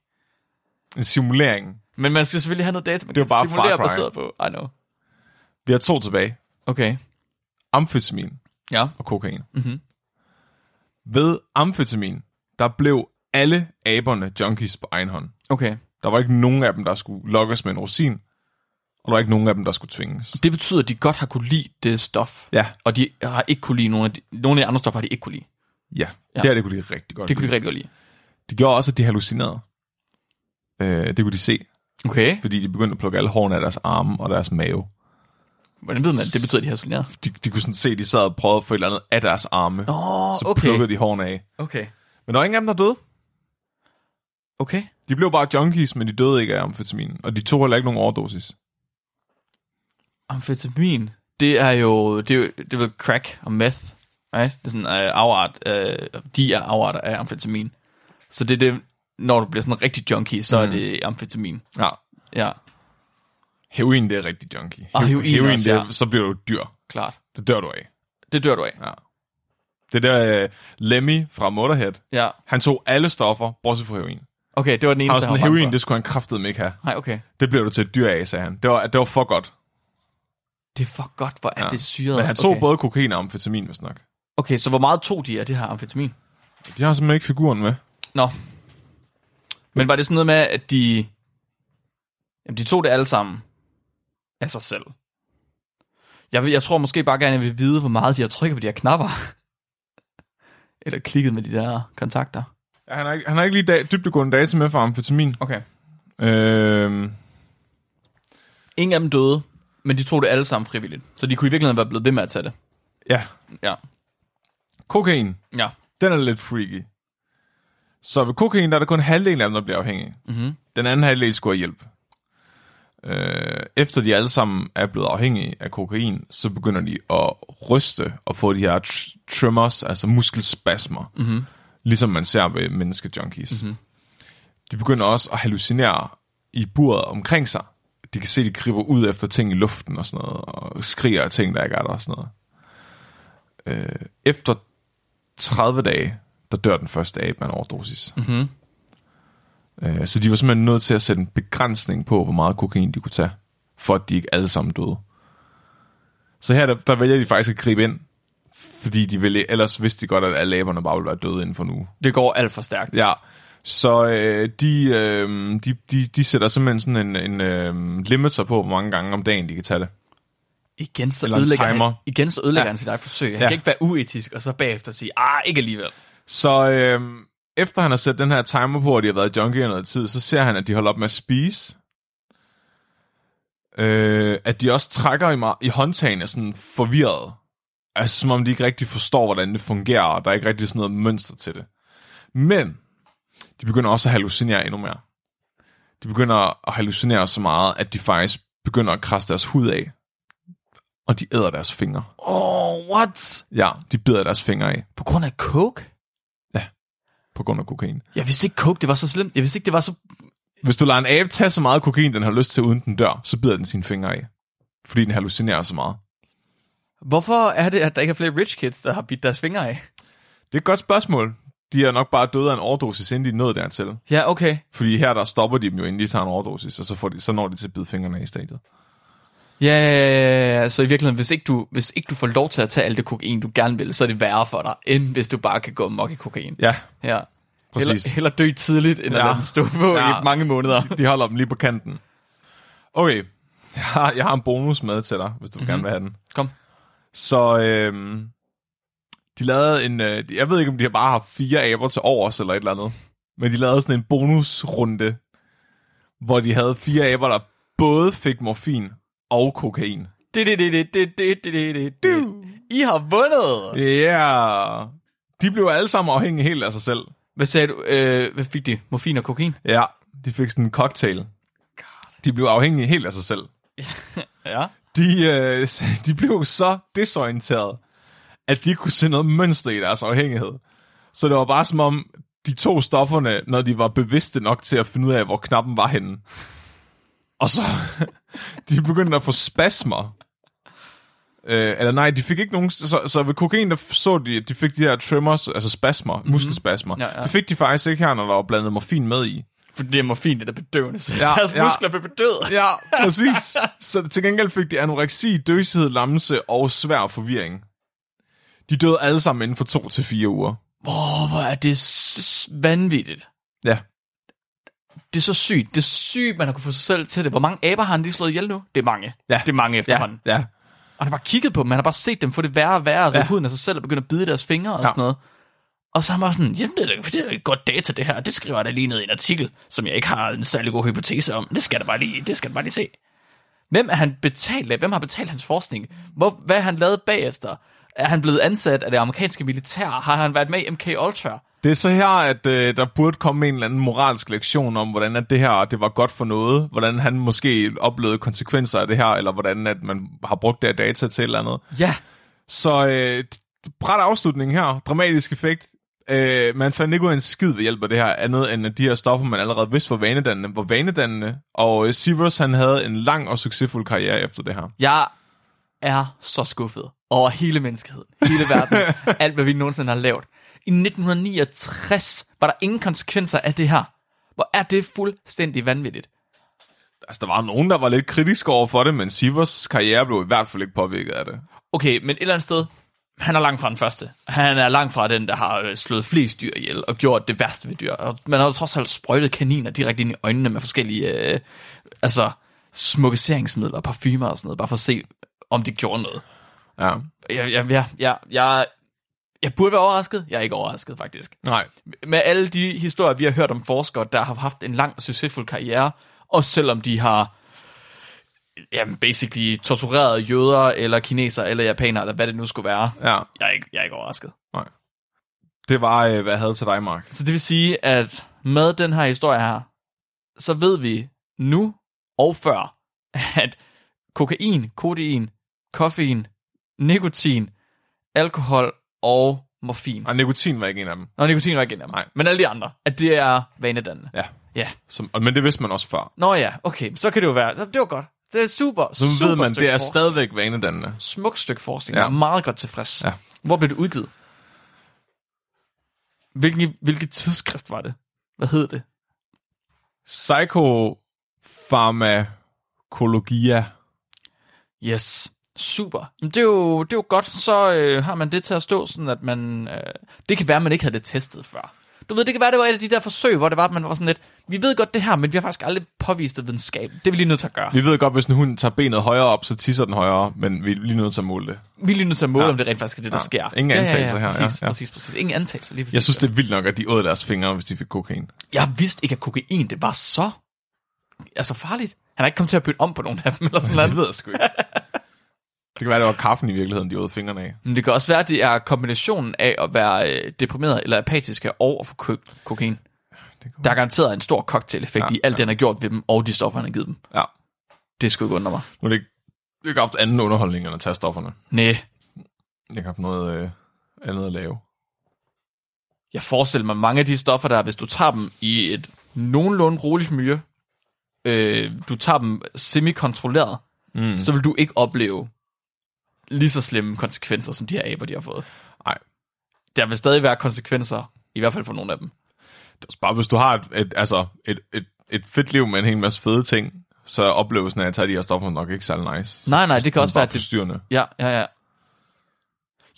Speaker 1: En simulering.
Speaker 2: Men man skal selvfølgelig have noget data, man
Speaker 1: Det er jo
Speaker 2: kan
Speaker 1: bare Far
Speaker 2: simulere
Speaker 1: Cry.
Speaker 2: baseret på. I know.
Speaker 1: Vi har to tilbage.
Speaker 2: Okay.
Speaker 1: Amfetamin
Speaker 2: Ja.
Speaker 1: og kokain.
Speaker 2: Mhm.
Speaker 1: Ved amfetamin, der blev alle aberne junkies på egen hånd.
Speaker 2: Okay.
Speaker 1: Der var ikke nogen af dem, der skulle lokkes med en rosin. og der var ikke nogen af dem, der skulle tvinges.
Speaker 2: Det betyder, at de godt har kunne lide det stof,
Speaker 1: Ja,
Speaker 2: og de har ikke kunne lide nogle af de, nogle af de andre stoffer, har de ikke kunne lide.
Speaker 1: ja.
Speaker 2: Ja.
Speaker 1: ja. Det her, det kunne de rigtig godt
Speaker 2: Det kunne
Speaker 1: lide.
Speaker 2: de rigtig godt lide.
Speaker 1: Det gjorde også, at de hallucinerede. Øh, det kunne de se,
Speaker 2: Okay.
Speaker 1: fordi de begyndte at plukke alle hårene af deres arme og deres mave.
Speaker 2: Hvordan ved man, at det betyder, at de har solnæret?
Speaker 1: De, de kunne sådan se, at de sad og prøvede at få et eller andet af deres arme.
Speaker 2: Nå,
Speaker 1: så
Speaker 2: okay.
Speaker 1: plukkede de hårene af.
Speaker 2: Okay.
Speaker 1: Men der var ingen af dem, der døde.
Speaker 2: Okay.
Speaker 1: De blev bare junkies, men de døde ikke af amfetamin. Og de tog heller ikke nogen overdosis.
Speaker 2: Amfetamin, det er jo, det er, jo, det er vel crack og meth, right? Det er sådan øh, afart, øh, de er afarter af amfetamin. Så det er det, når du bliver sådan en rigtig junkie, så mm. er det amfetamin.
Speaker 1: Ja.
Speaker 2: Ja,
Speaker 1: Heroin, det er rigtig junkie.
Speaker 2: Og Ah, heroin også,
Speaker 1: det er,
Speaker 2: ja.
Speaker 1: så bliver du dyr.
Speaker 2: klart.
Speaker 1: Det dør du af.
Speaker 2: Det dør du af.
Speaker 1: Ja. Det der uh, Lemmy fra Motorhead,
Speaker 2: Ja,
Speaker 1: han tog alle stoffer, bortset fra heroin.
Speaker 2: okay, det var den eneste,
Speaker 1: Han var sådan,
Speaker 2: bange
Speaker 1: heroin,
Speaker 2: for.
Speaker 1: det skulle han kraftedeme ikke have.
Speaker 2: Nej, okay.
Speaker 1: Det blev du til et dyr af, sagde han. Det var, det var for godt.
Speaker 2: Det er for godt, hvor er ja.
Speaker 1: Ja.
Speaker 2: det syret.
Speaker 1: Men han tog
Speaker 2: okay.
Speaker 1: okay. både kokain og amfetamin, hvis nok.
Speaker 2: Okay, så hvor meget tog de af det her amfetamin?
Speaker 1: De har simpelthen ikke figuren med.
Speaker 2: Nå. Men var det sådan noget med, at de... Jamen, de tog det alle sammen af sig selv. Jeg, vil, jeg tror måske bare gerne, jeg vil vide, hvor meget de har trykket på de her knapper. Eller klikket med de der kontakter.
Speaker 1: Ja, han, har ikke, han har ikke lige da, dybdegående data med for amfetamin.
Speaker 2: Okay.
Speaker 1: Øh,
Speaker 2: Ingen af dem døde, men de tog det alle sammen frivilligt. Så de kunne i virkeligheden være blevet ved med at tage det.
Speaker 1: ja,
Speaker 2: Ja.
Speaker 1: kokain.
Speaker 2: Ja.
Speaker 1: Den er lidt freaky. Så ved kokain, der er der kun halvdelen af dem, der bliver afhængige. Mm-hmm. Den anden halvdel skulle have hjælp. Øh, efter de alle sammen er blevet afhængige af kokain, så begynder de at ryste og få de her tr- tremors, altså muskelspasmer. Mm-hmm. Ligesom man ser ved menneskejunkies. Mm-hmm. De begynder også at hallucinere i buret omkring sig. De kan se, de griber ud efter ting i luften og sådan noget, og skriger af ting, der ikke er der og sådan noget. Øh, efter 30 dage, der dør den første abe af en overdosis.
Speaker 2: Mhm.
Speaker 1: Øh, så de var simpelthen nødt til at sætte en begrænsning på, hvor meget kokain de kunne tage, for at de ikke alle sammen døde. Så her, der, der vælger de faktisk at gribe ind, fordi de ville, ellers vidste de godt, at alle aberne bare ville være døde inden for nu.
Speaker 2: Det går alt for stærkt.
Speaker 1: Ja, så øh, de, øh, de, de, de sætter simpelthen sådan en, en øh, limiter på, hvor mange gange om dagen de kan tage det.
Speaker 2: Igen så
Speaker 1: Eller en
Speaker 2: ødelægger, han,
Speaker 1: timer.
Speaker 2: igen så ødelægger ja.
Speaker 1: Ja.
Speaker 2: han sit eget forsøg. Han ja.
Speaker 1: Ja.
Speaker 2: kan ikke være uetisk, og så bagefter sige, ah, ikke alligevel.
Speaker 1: Så øhm, efter han har sat den her timer på, og de har været junkie i noget tid, så ser han, at de holder op med at spise. Øh, at de også trækker i, mar- i håndtagene sådan forvirret. Altså som om de ikke rigtig forstår, hvordan det fungerer, og der er ikke rigtig sådan noget mønster til det. Men de begynder også at hallucinere endnu mere. De begynder at hallucinere så meget, at de faktisk begynder at krasse deres hud af. Og de æder deres fingre.
Speaker 2: Oh, what?
Speaker 1: Ja, de bider deres fingre af
Speaker 2: På grund af coke?
Speaker 1: på grund af kokain.
Speaker 2: Jeg vidste ikke, coke det var så slemt. Jeg vidste ikke, det var så...
Speaker 1: Hvis du lader en abe tage så meget kokain, den har lyst til, uden den dør, så bider den sine fingre af. Fordi den hallucinerer så meget.
Speaker 2: Hvorfor er det, at der ikke er flere rich kids, der har bidt deres fingre af?
Speaker 1: Det er et godt spørgsmål. De er nok bare døde af en overdosis, inden de nåede dertil.
Speaker 2: Ja, okay.
Speaker 1: Fordi her der stopper de dem jo, inden de tager en overdosis, og så, får de, så når de til at bide fingrene af i stadiet.
Speaker 2: Ja, ja, ja, ja, så i virkeligheden, hvis ikke, du, hvis ikke du får lov til at tage alt det kokain, du gerne vil, så er det værre for dig, end hvis du bare kan gå mok i kokain.
Speaker 1: Ja,
Speaker 2: Ja.
Speaker 1: præcis.
Speaker 2: Heller, heller dø tidligt, end ja. at
Speaker 1: Ja.
Speaker 2: lade den stå på ja.
Speaker 1: Ja.
Speaker 2: i mange måneder.
Speaker 1: De holder dem lige på kanten. Okay, jeg har, jeg har en bonus med til dig, hvis du mm-hmm. gerne vil have den.
Speaker 2: Kom.
Speaker 1: Så øhm, de lavede en... Øh, jeg ved ikke, om de bare har fire aber til overs eller et eller andet. Men de lavede sådan en bonusrunde, hvor de havde fire aber, der både fik morfin og kokain.
Speaker 2: Det, det, det, det, det, det, det, det, det, det. I har vundet!
Speaker 1: Ja, yeah. de blev alle sammen afhængige helt af sig selv.
Speaker 2: Hvad sagde du? Øh, hvad fik de? Morfin og kokain?
Speaker 1: Ja, de fik sådan en cocktail. De blev afhængige helt af sig selv.
Speaker 2: Ja.
Speaker 1: de, øh, de blev så desorienteret, at de ikke kunne se noget mønster i deres afhængighed. Så det var bare som om, de tog stofferne, når de var bevidste nok til at finde ud af, hvor knappen var henne. Og så, de begyndte at få spasmer. Øh, eller nej, de fik ikke nogen... Så, så ved kokain, der så de, at de fik de her tremors, altså spasmer, mm-hmm. muskelspasmer.
Speaker 2: Mhm. Ja, ja.
Speaker 1: Det fik de faktisk ikke her, når der var blandet morfin med i.
Speaker 2: For det er morfin, det er bedøvende, så ja,
Speaker 1: Ja,
Speaker 2: deres
Speaker 1: ja.
Speaker 2: muskler bliver bedøvet.
Speaker 1: Ja, præcis. Så til gengæld fik de anoreksi, døsighed, lammelse og svær forvirring. De døde alle sammen inden for to til fire uger.
Speaker 2: Åh, hvor er det s- s- vanvittigt.
Speaker 1: Ja.
Speaker 2: det er så sygt. Det er sygt, man har kunne få sig selv til det. Hvor mange aber har han lige slået ihjel nu? Det er mange.
Speaker 1: Ja.
Speaker 2: Det er mange
Speaker 1: Ja,
Speaker 2: efterhånden.
Speaker 1: ja.
Speaker 2: Og han har bare kigget på dem, han har bare set dem få det værre og værre, ja.
Speaker 1: Ja.
Speaker 2: huden af sig selv og begynde at bide i deres fingre og
Speaker 1: Ja.
Speaker 2: sådan noget. Og så er han bare sådan, jamen det er, da- det er da et godt data det her, det skriver jeg da lige ned i en artikel, som jeg ikke har en særlig god hypotese om. Det skal jeg da bare lige, det skal jeg da bare lige se. Hvem er han betalt af? Hvem har betalt hans forskning? Hvor, hvad har han lavet bagefter? Er han blevet ansat af det amerikanske militær? Har han været med i MK Ultra?
Speaker 1: Det er så her, at øh, der burde komme en eller anden moralsk lektion om, hvordan at det her det var godt for noget, hvordan han måske oplevede konsekvenser af det her, eller hvordan at man har brugt det her data til et eller andet.
Speaker 2: Ja,
Speaker 1: Så øh, bræt afslutning her. Dramatisk effekt. Øh, man fandt ikke ud af en skid ved hjælp af det her, andet end at de her stoffer, man allerede vidste var vanedannende, var vanedannende. Og øh, Sivers, han havde en lang og succesfuld karriere efter det her.
Speaker 2: Jeg er så skuffet over hele menneskeheden, hele verden, alt hvad vi nogensinde har lavet. I 1969 var der ingen konsekvenser af det her. Hvor er det fuldstændig vanvittigt.
Speaker 1: Altså, der var nogen, der var lidt kritiske over for det, men Sivers karriere blev i hvert fald ikke påvirket af det.
Speaker 2: Okay, men et eller andet sted, han er langt fra den første. Han er langt fra den, der har øh, slået flest dyr ihjel og gjort det værste ved dyr. Og man har jo trods alt sprøjtet kaniner direkte ind i øjnene med forskellige øh, altså, smukkiseringsmidler, parfumer og sådan noget, bare for at se, om det gjorde noget.
Speaker 1: Ja.
Speaker 2: Jeg, jeg, jeg, jeg, jeg, jeg burde være overrasket. Jeg er ikke overrasket, faktisk.
Speaker 1: Nej.
Speaker 2: Med alle de historier, vi har hørt om forskere, der har haft en lang og succesfuld karriere, og selvom de har jamen, basically tortureret jøder, eller kineser, eller japanere, eller hvad det nu skulle være,
Speaker 1: Ja.
Speaker 2: jeg er ikke, jeg er ikke overrasket.
Speaker 1: Nej. Det var, øh, hvad jeg havde til dig, Mark.
Speaker 2: Så det vil sige, at med den her historie her, så ved vi nu og før, at kokain, kodein, koffein, nikotin, alkohol og morfin.
Speaker 1: Og nikotin var ikke en af dem.
Speaker 2: Nå, nikotin var ikke en af dem.
Speaker 1: Nej.
Speaker 2: Men alle de andre, at det er vanedannende.
Speaker 1: Ja.
Speaker 2: Ja.
Speaker 1: Som, og- men det vidste man også før.
Speaker 2: Nå ja, okay, så kan det jo være. Så Det var godt. Det er super,
Speaker 1: Så
Speaker 2: super
Speaker 1: nu ved man,
Speaker 2: stykke
Speaker 1: det er
Speaker 2: forskning.
Speaker 1: stadigvæk vanedannende.
Speaker 2: Smukt stykke forskning.
Speaker 1: Ja.
Speaker 2: Jeg er meget godt tilfreds.
Speaker 1: Ja.
Speaker 2: Hvor blev det udgivet? Hvilken, hvilket tidsskrift var det? Hvad hed det?
Speaker 1: Psychopharmakologia.
Speaker 2: Yes. Super. Men det er jo, det er jo godt, så øh, har man det til at stå sådan, at man... Øh, det kan være, man ikke havde det testet før. Du ved, det kan være, det var et af de der forsøg, hvor det var, at man var sådan lidt, vi ved godt det her, men vi har faktisk aldrig påvist det videnskab. Det er vi lige nødt til at gøre.
Speaker 1: Vi ved godt, hvis en hund tager benet højere op, så tisser den højere, men vi er lige nødt til at måle det.
Speaker 2: Vi er lige nødt til at måle, ja.
Speaker 1: Ja.
Speaker 2: om det rent faktisk er det, der
Speaker 1: Ja.
Speaker 2: sker.
Speaker 1: Ingen antagelser her, ja,
Speaker 2: Præcis,
Speaker 1: ja.
Speaker 2: præcis, præcis. Ingen antagelser lige præcis.
Speaker 1: Jeg synes, det er vildt nok, at de åd deres fingre, hvis de fik kokain.
Speaker 2: Jeg vidste ikke, at kokain, det var så altså farligt. Han er ikke kommet til at bytte om på nogen af dem, eller sådan noget.
Speaker 1: ved jeg sgu ikke. Det kan være, det var kaffen i virkeligheden, de åd fingrene af.
Speaker 2: Men det kan også være, at det er kombinationen af at være øh, deprimeret eller apatiske over for ko- kokain.
Speaker 1: Det kunne...
Speaker 2: Der er garanteret en stor cocktail-effekt ja,
Speaker 1: Ja,
Speaker 2: i alt,
Speaker 1: ja.
Speaker 2: den har gjort ved dem, og de stoffer, han har givet dem.
Speaker 1: Ja.
Speaker 2: Det skulle ikke undre mig.
Speaker 1: Nu er det ikke, det er ikke haft anden underholdning end at tage stofferne.
Speaker 2: Næh,
Speaker 1: Jeg har haft noget øh, andet at lave.
Speaker 2: jeg forestiller mig mange af de stoffer, der er, hvis du tager dem i et nogenlunde roligt miljø, øh, du tager dem semi-kontrolleret,
Speaker 1: Mm.
Speaker 2: så vil du ikke opleve lige så slemme konsekvenser, som de her aber, de har fået.
Speaker 1: Nej.
Speaker 2: Der vil stadig være konsekvenser, i hvert fald for nogle af dem.
Speaker 1: Det er også bare, hvis du har et, et, altså, et, et, et fedt liv med en hel masse fede ting, så er oplevelsen af at tage de her stoffer nok ikke særlig nice.
Speaker 2: Nej, nej, det kan også være, at det...
Speaker 1: forstyrrende.
Speaker 2: Ja, ja, ja.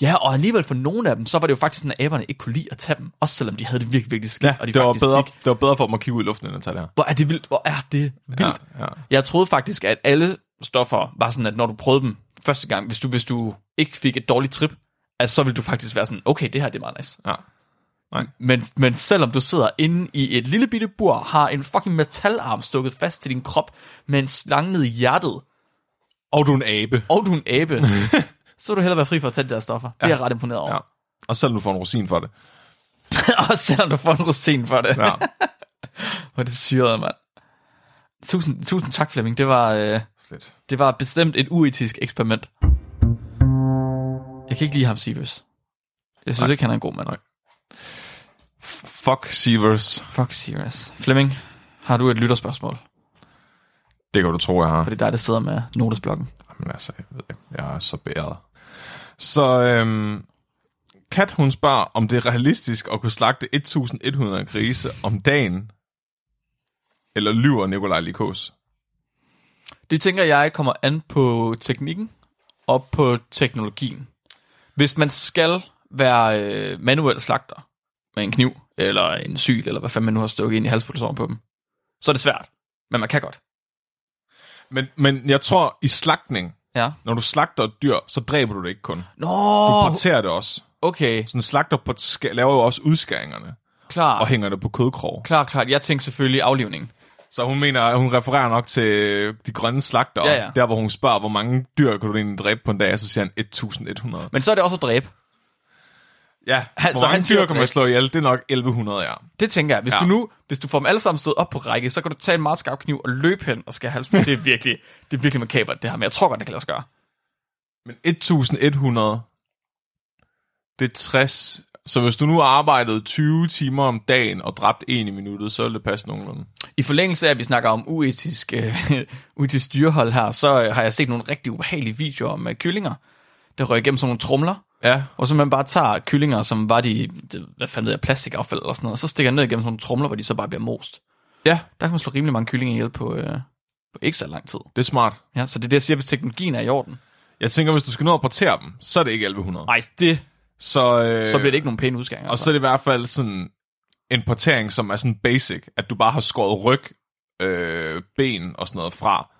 Speaker 2: Ja, og alligevel for nogle af dem, så var det jo faktisk sådan, at aberne ikke kunne lide at tage dem, også selvom de havde det virkelig, virkelig skidt,
Speaker 1: Ja,
Speaker 2: og de
Speaker 1: det, var
Speaker 2: faktisk
Speaker 1: bedre,
Speaker 2: fik...
Speaker 1: det var bedre for dem at kigge ud i luften, end at tage det her.
Speaker 2: Hvor er det vildt, hvor er det vildt. Ja.
Speaker 1: Ja, ja.
Speaker 2: Jeg troede faktisk, at alle stoffer var sådan, at når du prøvede dem første gang, hvis du, hvis du ikke fik et dårligt trip, altså, så ville du faktisk være sådan, okay, det her det er meget nice.
Speaker 1: Ja. Nej.
Speaker 2: Men, men selvom du sidder inde i et lille bitte bur, har en fucking metalarm stukket fast til din krop med en slange ned i hjertet,
Speaker 1: Og du er en abe.
Speaker 2: og du er en abe, så vil du hellere være fri for at tage de der stoffer. Det er jeg ret imponeret over.
Speaker 1: Ja. Og selvom du får en rosin for det.
Speaker 2: og selvom du får en rosin for det.
Speaker 1: Ja.
Speaker 2: Hvor det syrede, mand. Tusind, tusind tak, Flemming. Det var, øh,
Speaker 1: Fedt.
Speaker 2: det var bestemt et uetisk eksperiment. Jeg kan ikke lide ham, Sivers. Jeg synes Nej. ikke, han er en god mand.
Speaker 1: Nej. Fuck Sievers.
Speaker 2: Fuck Sivers. Flemming, har du et lytterspørgsmål?
Speaker 1: Det kan du tro, jeg har.
Speaker 2: For det er dig, der sidder med notesblokken.
Speaker 1: Jamen altså, jeg ved ikke. Jeg er så bæret. Så øhm, Kat, hun spørger, om det er realistisk at kunne slagte 1100 grise om dagen. Eller lyver Nikolaj Likos?
Speaker 2: Det tænker jeg kommer an på teknikken og på teknologien. Hvis man skal være øh, manuel slagter med en kniv, eller en syl, eller hvad fanden man nu har stukket ind i halspulsåren på dem, så er det svært. Men man kan godt.
Speaker 1: Men, men jeg tror, i slagtning,
Speaker 2: Ja.
Speaker 1: når du slagter et dyr, så dræber du det ikke kun. Du
Speaker 2: Nå,
Speaker 1: parterer det også.
Speaker 2: okay.
Speaker 1: Sådan en slagter på, ska- laver jo også udskæringerne
Speaker 2: Klar,
Speaker 1: og hænger det på kødkrog.
Speaker 2: klar, klar. Jeg tænkte selvfølgelig aflivning.
Speaker 1: Så hun mener, at hun refererer nok til de grønne slagter,
Speaker 2: Ja, ja.
Speaker 1: der hvor hun spørger, hvor mange dyr kan du egentlig dræbe på en dag, og så siger han 1100.
Speaker 2: Men så er det også at dræbe.
Speaker 1: Ja,
Speaker 2: Han-
Speaker 1: hvor
Speaker 2: så han
Speaker 1: mange
Speaker 2: siger
Speaker 1: dyr kan man
Speaker 2: dræbe.
Speaker 1: slå ihjel, det er nok 1100, ja.
Speaker 2: Det tænker jeg. Hvis
Speaker 1: Ja.
Speaker 2: ja. du nu, hvis du får dem alle sammen stået op på række, så kan du tage en meget skarp kniv og løbe hen og skære halsen. på. Det er virkelig, det er virkelig makabert, det her. Men jeg tror godt, det kan lade sig gøre.
Speaker 1: Men 1100, det er 60. Så hvis du nu arbejdede 20 timer om dagen og dræbte en i minuttet, så ville det passe nogenlunde.
Speaker 2: I forlængelse af, at vi snakker om uetisk, øh, uetisk dyrehold her, så øh, har jeg set nogle rigtig ubehagelige videoer om øh, kyllinger, der røg igennem sådan nogle trumler,
Speaker 1: Ja,
Speaker 2: og så man bare tager kyllinger, som var de, det, hvad fanden ved jeg, plastikaffald eller sådan noget, og så stikker jeg ned igennem sådan nogle trumler, hvor de så bare bliver most.
Speaker 1: ja
Speaker 2: Der kan man slå rimelig mange kyllinger ihjel på, øh, på ikke så lang tid.
Speaker 1: det er smart.
Speaker 2: Ja, så det er det, jeg siger, hvis teknologien er i orden.
Speaker 1: Jeg tænker, hvis du skal nå at portere dem, så er det ikke 1100.
Speaker 2: Nej, det,
Speaker 1: Så, øh,
Speaker 2: så bliver det ikke nogen pæne udskæringer. altså.
Speaker 1: Og så er det i hvert fald sådan en portering, som er sådan basic, at du bare har skåret ryg, øh, ben og sådan noget fra.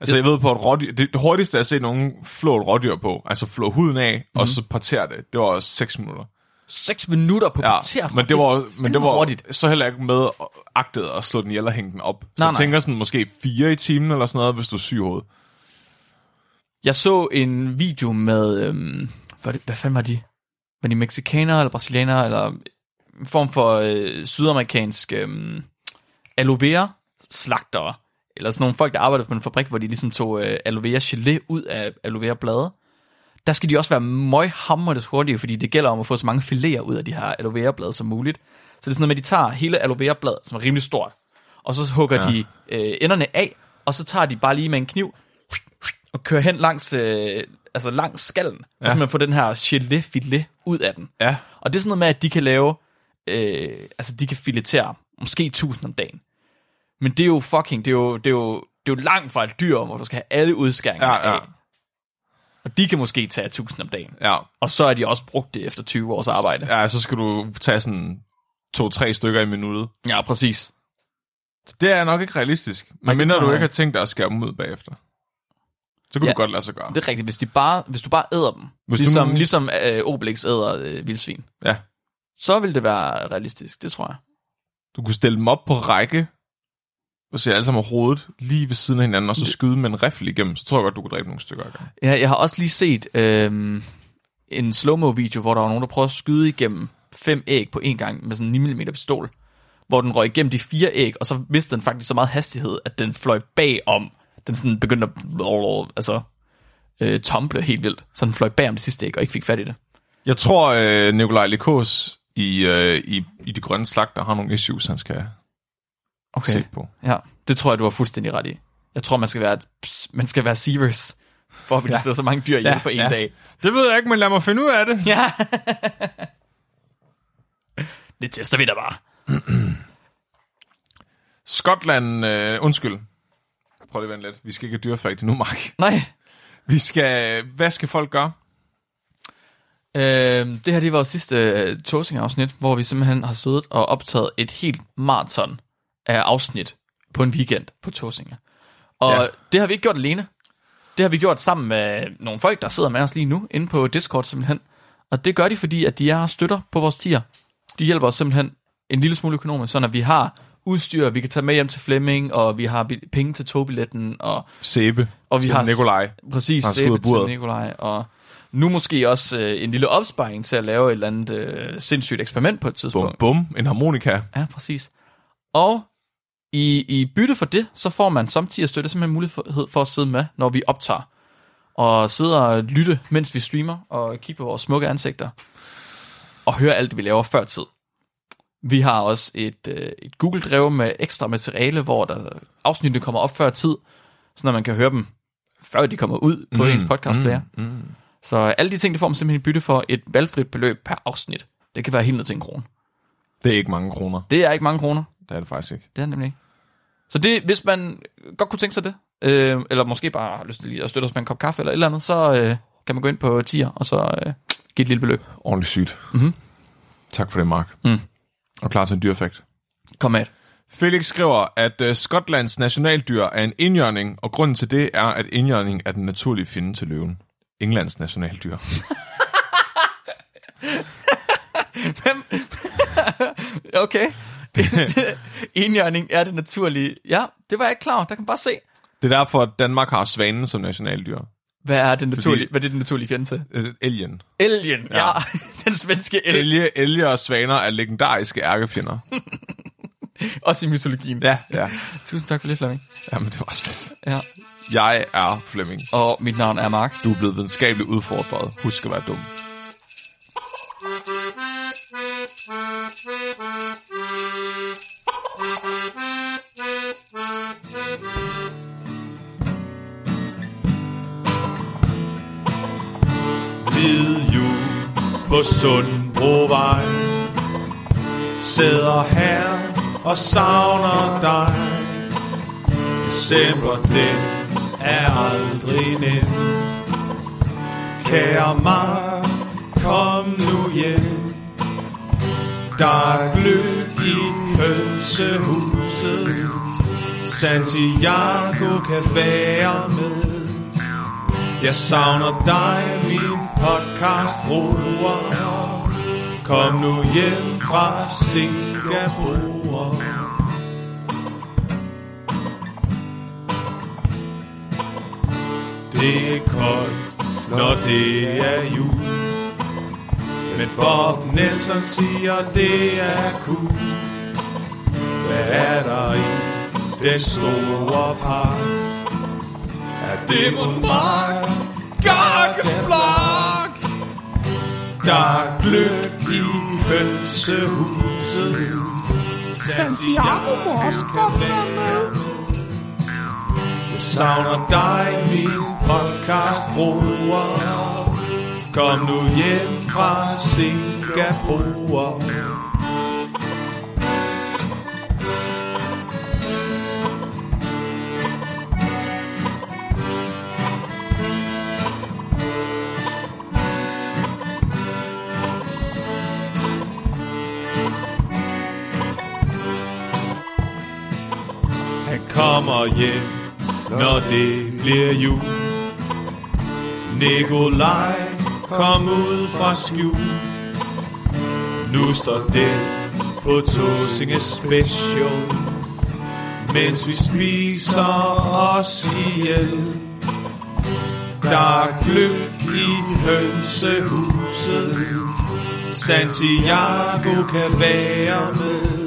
Speaker 1: Altså jeg ved på et rådyr, det det hurtigste jeg har set nogen flå et rådyr på, altså flå huden af,
Speaker 2: Mhm.
Speaker 1: mm. og så partere det, det var også 6 minutter.
Speaker 2: 6 minutter på
Speaker 1: Ja,
Speaker 2: kvarter.
Speaker 1: men det var, men det var
Speaker 2: hurtigt.
Speaker 1: så heller ikke med agtet at slå den ihjel og hænge den op. Så
Speaker 2: Nej,
Speaker 1: jeg
Speaker 2: nej.
Speaker 1: tænker sådan måske fire i timen eller sådan noget, hvis du er syg i hovedet.
Speaker 2: Jeg så en video med, øhm, hvad, det, hvad fanden var de? Var de mexikanere eller brasilianere, eller en form for øh, sydamerikansk øhm, aloe vera slagtere, eller sådan nogle folk, der arbejder på en fabrik, hvor de ligesom tog øh, aloe vera gelé ud af aloe vera blade. Der skal de også være møghammerende hurtige, fordi det gælder om at få så mange filéer ud af de her aloe vera blade som muligt. Så det er sådan noget med, at de tager hele aloe vera blad, som er rimelig stort, og så hugger
Speaker 1: Ja.
Speaker 2: ja. de øh, enderne af, og så tager de bare lige med en kniv, og kører hen langs, øh, altså langs skallen, ja. så man får den her gelé-filet ud af den.
Speaker 1: Ja,
Speaker 2: Og det er sådan noget med, at de kan lave, øh, altså de kan filetere måske 1000 om dagen. Men det er jo fucking, det er jo, det er jo, det er jo langt fra et dyr, hvor du skal have alle udskæringer
Speaker 1: ja, ja.
Speaker 2: af. Og de kan måske tage 1000 om dagen.
Speaker 1: ja.
Speaker 2: Og så er de også brugt det efter 20 års arbejde.
Speaker 1: Ja, så skal du tage sådan to-tre stykker i minuttet.
Speaker 2: Ja, præcis.
Speaker 1: Så det er nok ikke realistisk. Men
Speaker 2: det
Speaker 1: mindre
Speaker 2: tror
Speaker 1: du
Speaker 2: jeg
Speaker 1: ikke har
Speaker 2: ikke.
Speaker 1: tænkt dig at skære dem ud bagefter. Så kunne
Speaker 2: Ja.
Speaker 1: du godt lade sig gøre.
Speaker 2: Det er rigtigt, hvis, de bare, hvis du bare æder dem,
Speaker 1: Hvis
Speaker 2: hvis
Speaker 1: du
Speaker 2: ligesom,
Speaker 1: nu-
Speaker 2: du... ligesom øh, Obelix æder øh, vildsvin,
Speaker 1: Ja.
Speaker 2: så vil det være realistisk, det tror jeg.
Speaker 1: Du kunne stille dem op på række, og se alle sammen over hovedet lige ved siden af hinanden, og så skyde med en rifle igennem. Så tror jeg godt, du kunne dræbe nogle stykker. ad gangen.
Speaker 2: Ja, jeg har også lige set øh, en slow-mo-video, hvor der var nogen, der prøvede at skyde igennem fem æg på en gang med sådan en 9 mm pistol, hvor den røg igennem de fire æg, og så mistede den faktisk så meget hastighed, at den fløj bagom. Den sådan begyndte at altså, øh, tomble helt vildt, så den fløj bagom det sidste æg og ikke fik fat i det.
Speaker 1: Jeg tror, øh, Nikolaj Likos i, øh, i, i De Grønne Slagter har nogle issues, han skal okay. se på.
Speaker 2: Ja, det tror jeg, du har fuldstændig ret i. Jeg tror, man skal være, man skal være Seavers, for at vi ja. så mange dyr ihjel ja, på en
Speaker 1: ja.
Speaker 2: ja. dag.
Speaker 1: Det ved jeg ikke, men lad mig finde ud af det.
Speaker 2: Ja. det tester vi da bare.
Speaker 1: Skotland, øh, undskyld. Prøv lige at vente lidt. Vi skal ikke have dyrefakt nu, Mark.
Speaker 2: Nej,
Speaker 1: Vi skal, hvad skal folk gøre?
Speaker 2: Øh, det her det var vores sidste øh, Tosing-afsnit, hvor vi simpelthen har siddet og optaget et helt maraton af afsnit på en weekend på Tosinger. Og
Speaker 1: Ja.
Speaker 2: ja. det har vi ikke gjort alene. Det har vi gjort sammen med nogle folk, der sidder med os lige nu inde på Discord simpelthen. Og det gør de, fordi at de er støtter på vores tier. De hjælper os simpelthen en lille smule økonomisk, så når vi har udstyr, vi kan tage med hjem til Flemming, og vi har bi- penge til togbilletten, og
Speaker 1: Sæbe.
Speaker 2: og vi
Speaker 1: til
Speaker 2: har
Speaker 1: Nikolaj.
Speaker 2: Præcis,
Speaker 1: Han
Speaker 2: han
Speaker 1: skal ud af
Speaker 2: sæbe til
Speaker 1: buret.
Speaker 2: Nikolaj. Og nu måske også øh, en lille opsparing til at lave et eller andet øh, sindssygt eksperiment på et
Speaker 1: Bum,
Speaker 2: tidspunkt.
Speaker 1: bum. En harmonika.
Speaker 2: Ja, præcis. Og i, i bytte for det, så får man samtidig støtte simpelthen mulighed for at sidde med, når vi optager. Og sidde og lytte, mens vi streamer, og kigge på vores smukke ansigter. Og høre alt, det, vi laver før tid. Vi har også et, øh, et Google-drev med ekstra materiale, hvor der afsnittene kommer op før tid, så man kan høre dem, før de kommer ud på mm, ens podcastplayer.
Speaker 1: Mm, mm.
Speaker 2: Så alle de ting, det får man simpelthen i bytte for et valgfrit beløb per afsnit. Det kan være helt ned til en krone.
Speaker 1: Det er ikke mange kroner.
Speaker 2: Det er ikke mange kroner.
Speaker 1: Det er det faktisk ikke.
Speaker 2: Det er han nemlig ikke. Så det, hvis man godt kunne tænke sig det, øh, eller måske bare har lyst til lige at støtte os med en kop kaffe eller et eller andet, så øh, kan man gå ind på tier og så øh, give et lille beløb.
Speaker 1: Ordentligt sygt.
Speaker 2: Mhm.
Speaker 1: Tak for det, Mark.
Speaker 2: Mm.
Speaker 1: Og klar til en dyrefakt.
Speaker 2: Kom med.
Speaker 4: Felix skriver, at øh, Skotlands nationaldyr er en indjørning, og grunden til det er, at indjørning er den naturlige fjende til løven. Englands nationaldyr.
Speaker 2: Hvem? okay. Indjørning er det naturlige. Ja, det var jeg ikke klar over. Der kan man bare se.
Speaker 4: Det er derfor, at Danmark har svanen som nationaldyr.
Speaker 2: Hvad er det naturlige, Fordi... hvad er det den naturlige fjende til?
Speaker 4: Altså, Elgen.
Speaker 2: Elgen, ja. ja. Den svenske elg.
Speaker 4: Elge, elge og svaner er legendariske ærkefjender.
Speaker 2: Også i mytologien.
Speaker 4: ja, ja.
Speaker 2: Tusind tak for det, Flemming.
Speaker 4: Jamen, det var slet.
Speaker 2: Ja.
Speaker 4: Jeg er Flemming.
Speaker 2: Og mit navn er Mark.
Speaker 4: Du er blevet videnskabeligt udfordret. Husk at være dum.
Speaker 1: Hvid jul på Sundbrovej Sidder her og savner dig December den er aldrig nem Kære Mark, kom nu hjem Der er gløb i pølsehuset Santiago kan være med jeg savner dig, min podcast bruger. Kom nu hjem fra Singapore. Det er koldt, når det er jul. Men Bob Nelson siger, det er cool. Hvad er der i den store park? Er det mon Mark? Gakkeblok! Der er gløb i hønsehuset. Santiago Moskva med. Jeg savner dig, min podcastbruger. Kom nu hjem fra Singapore. Han kommer hjem, når det bliver jul. Nikolaj, kom ud fra skjul. Nu står det på Tåsinge Special. Mens vi spiser os ihjel. Der er gløb i hønsehuset. Santiago kan være med.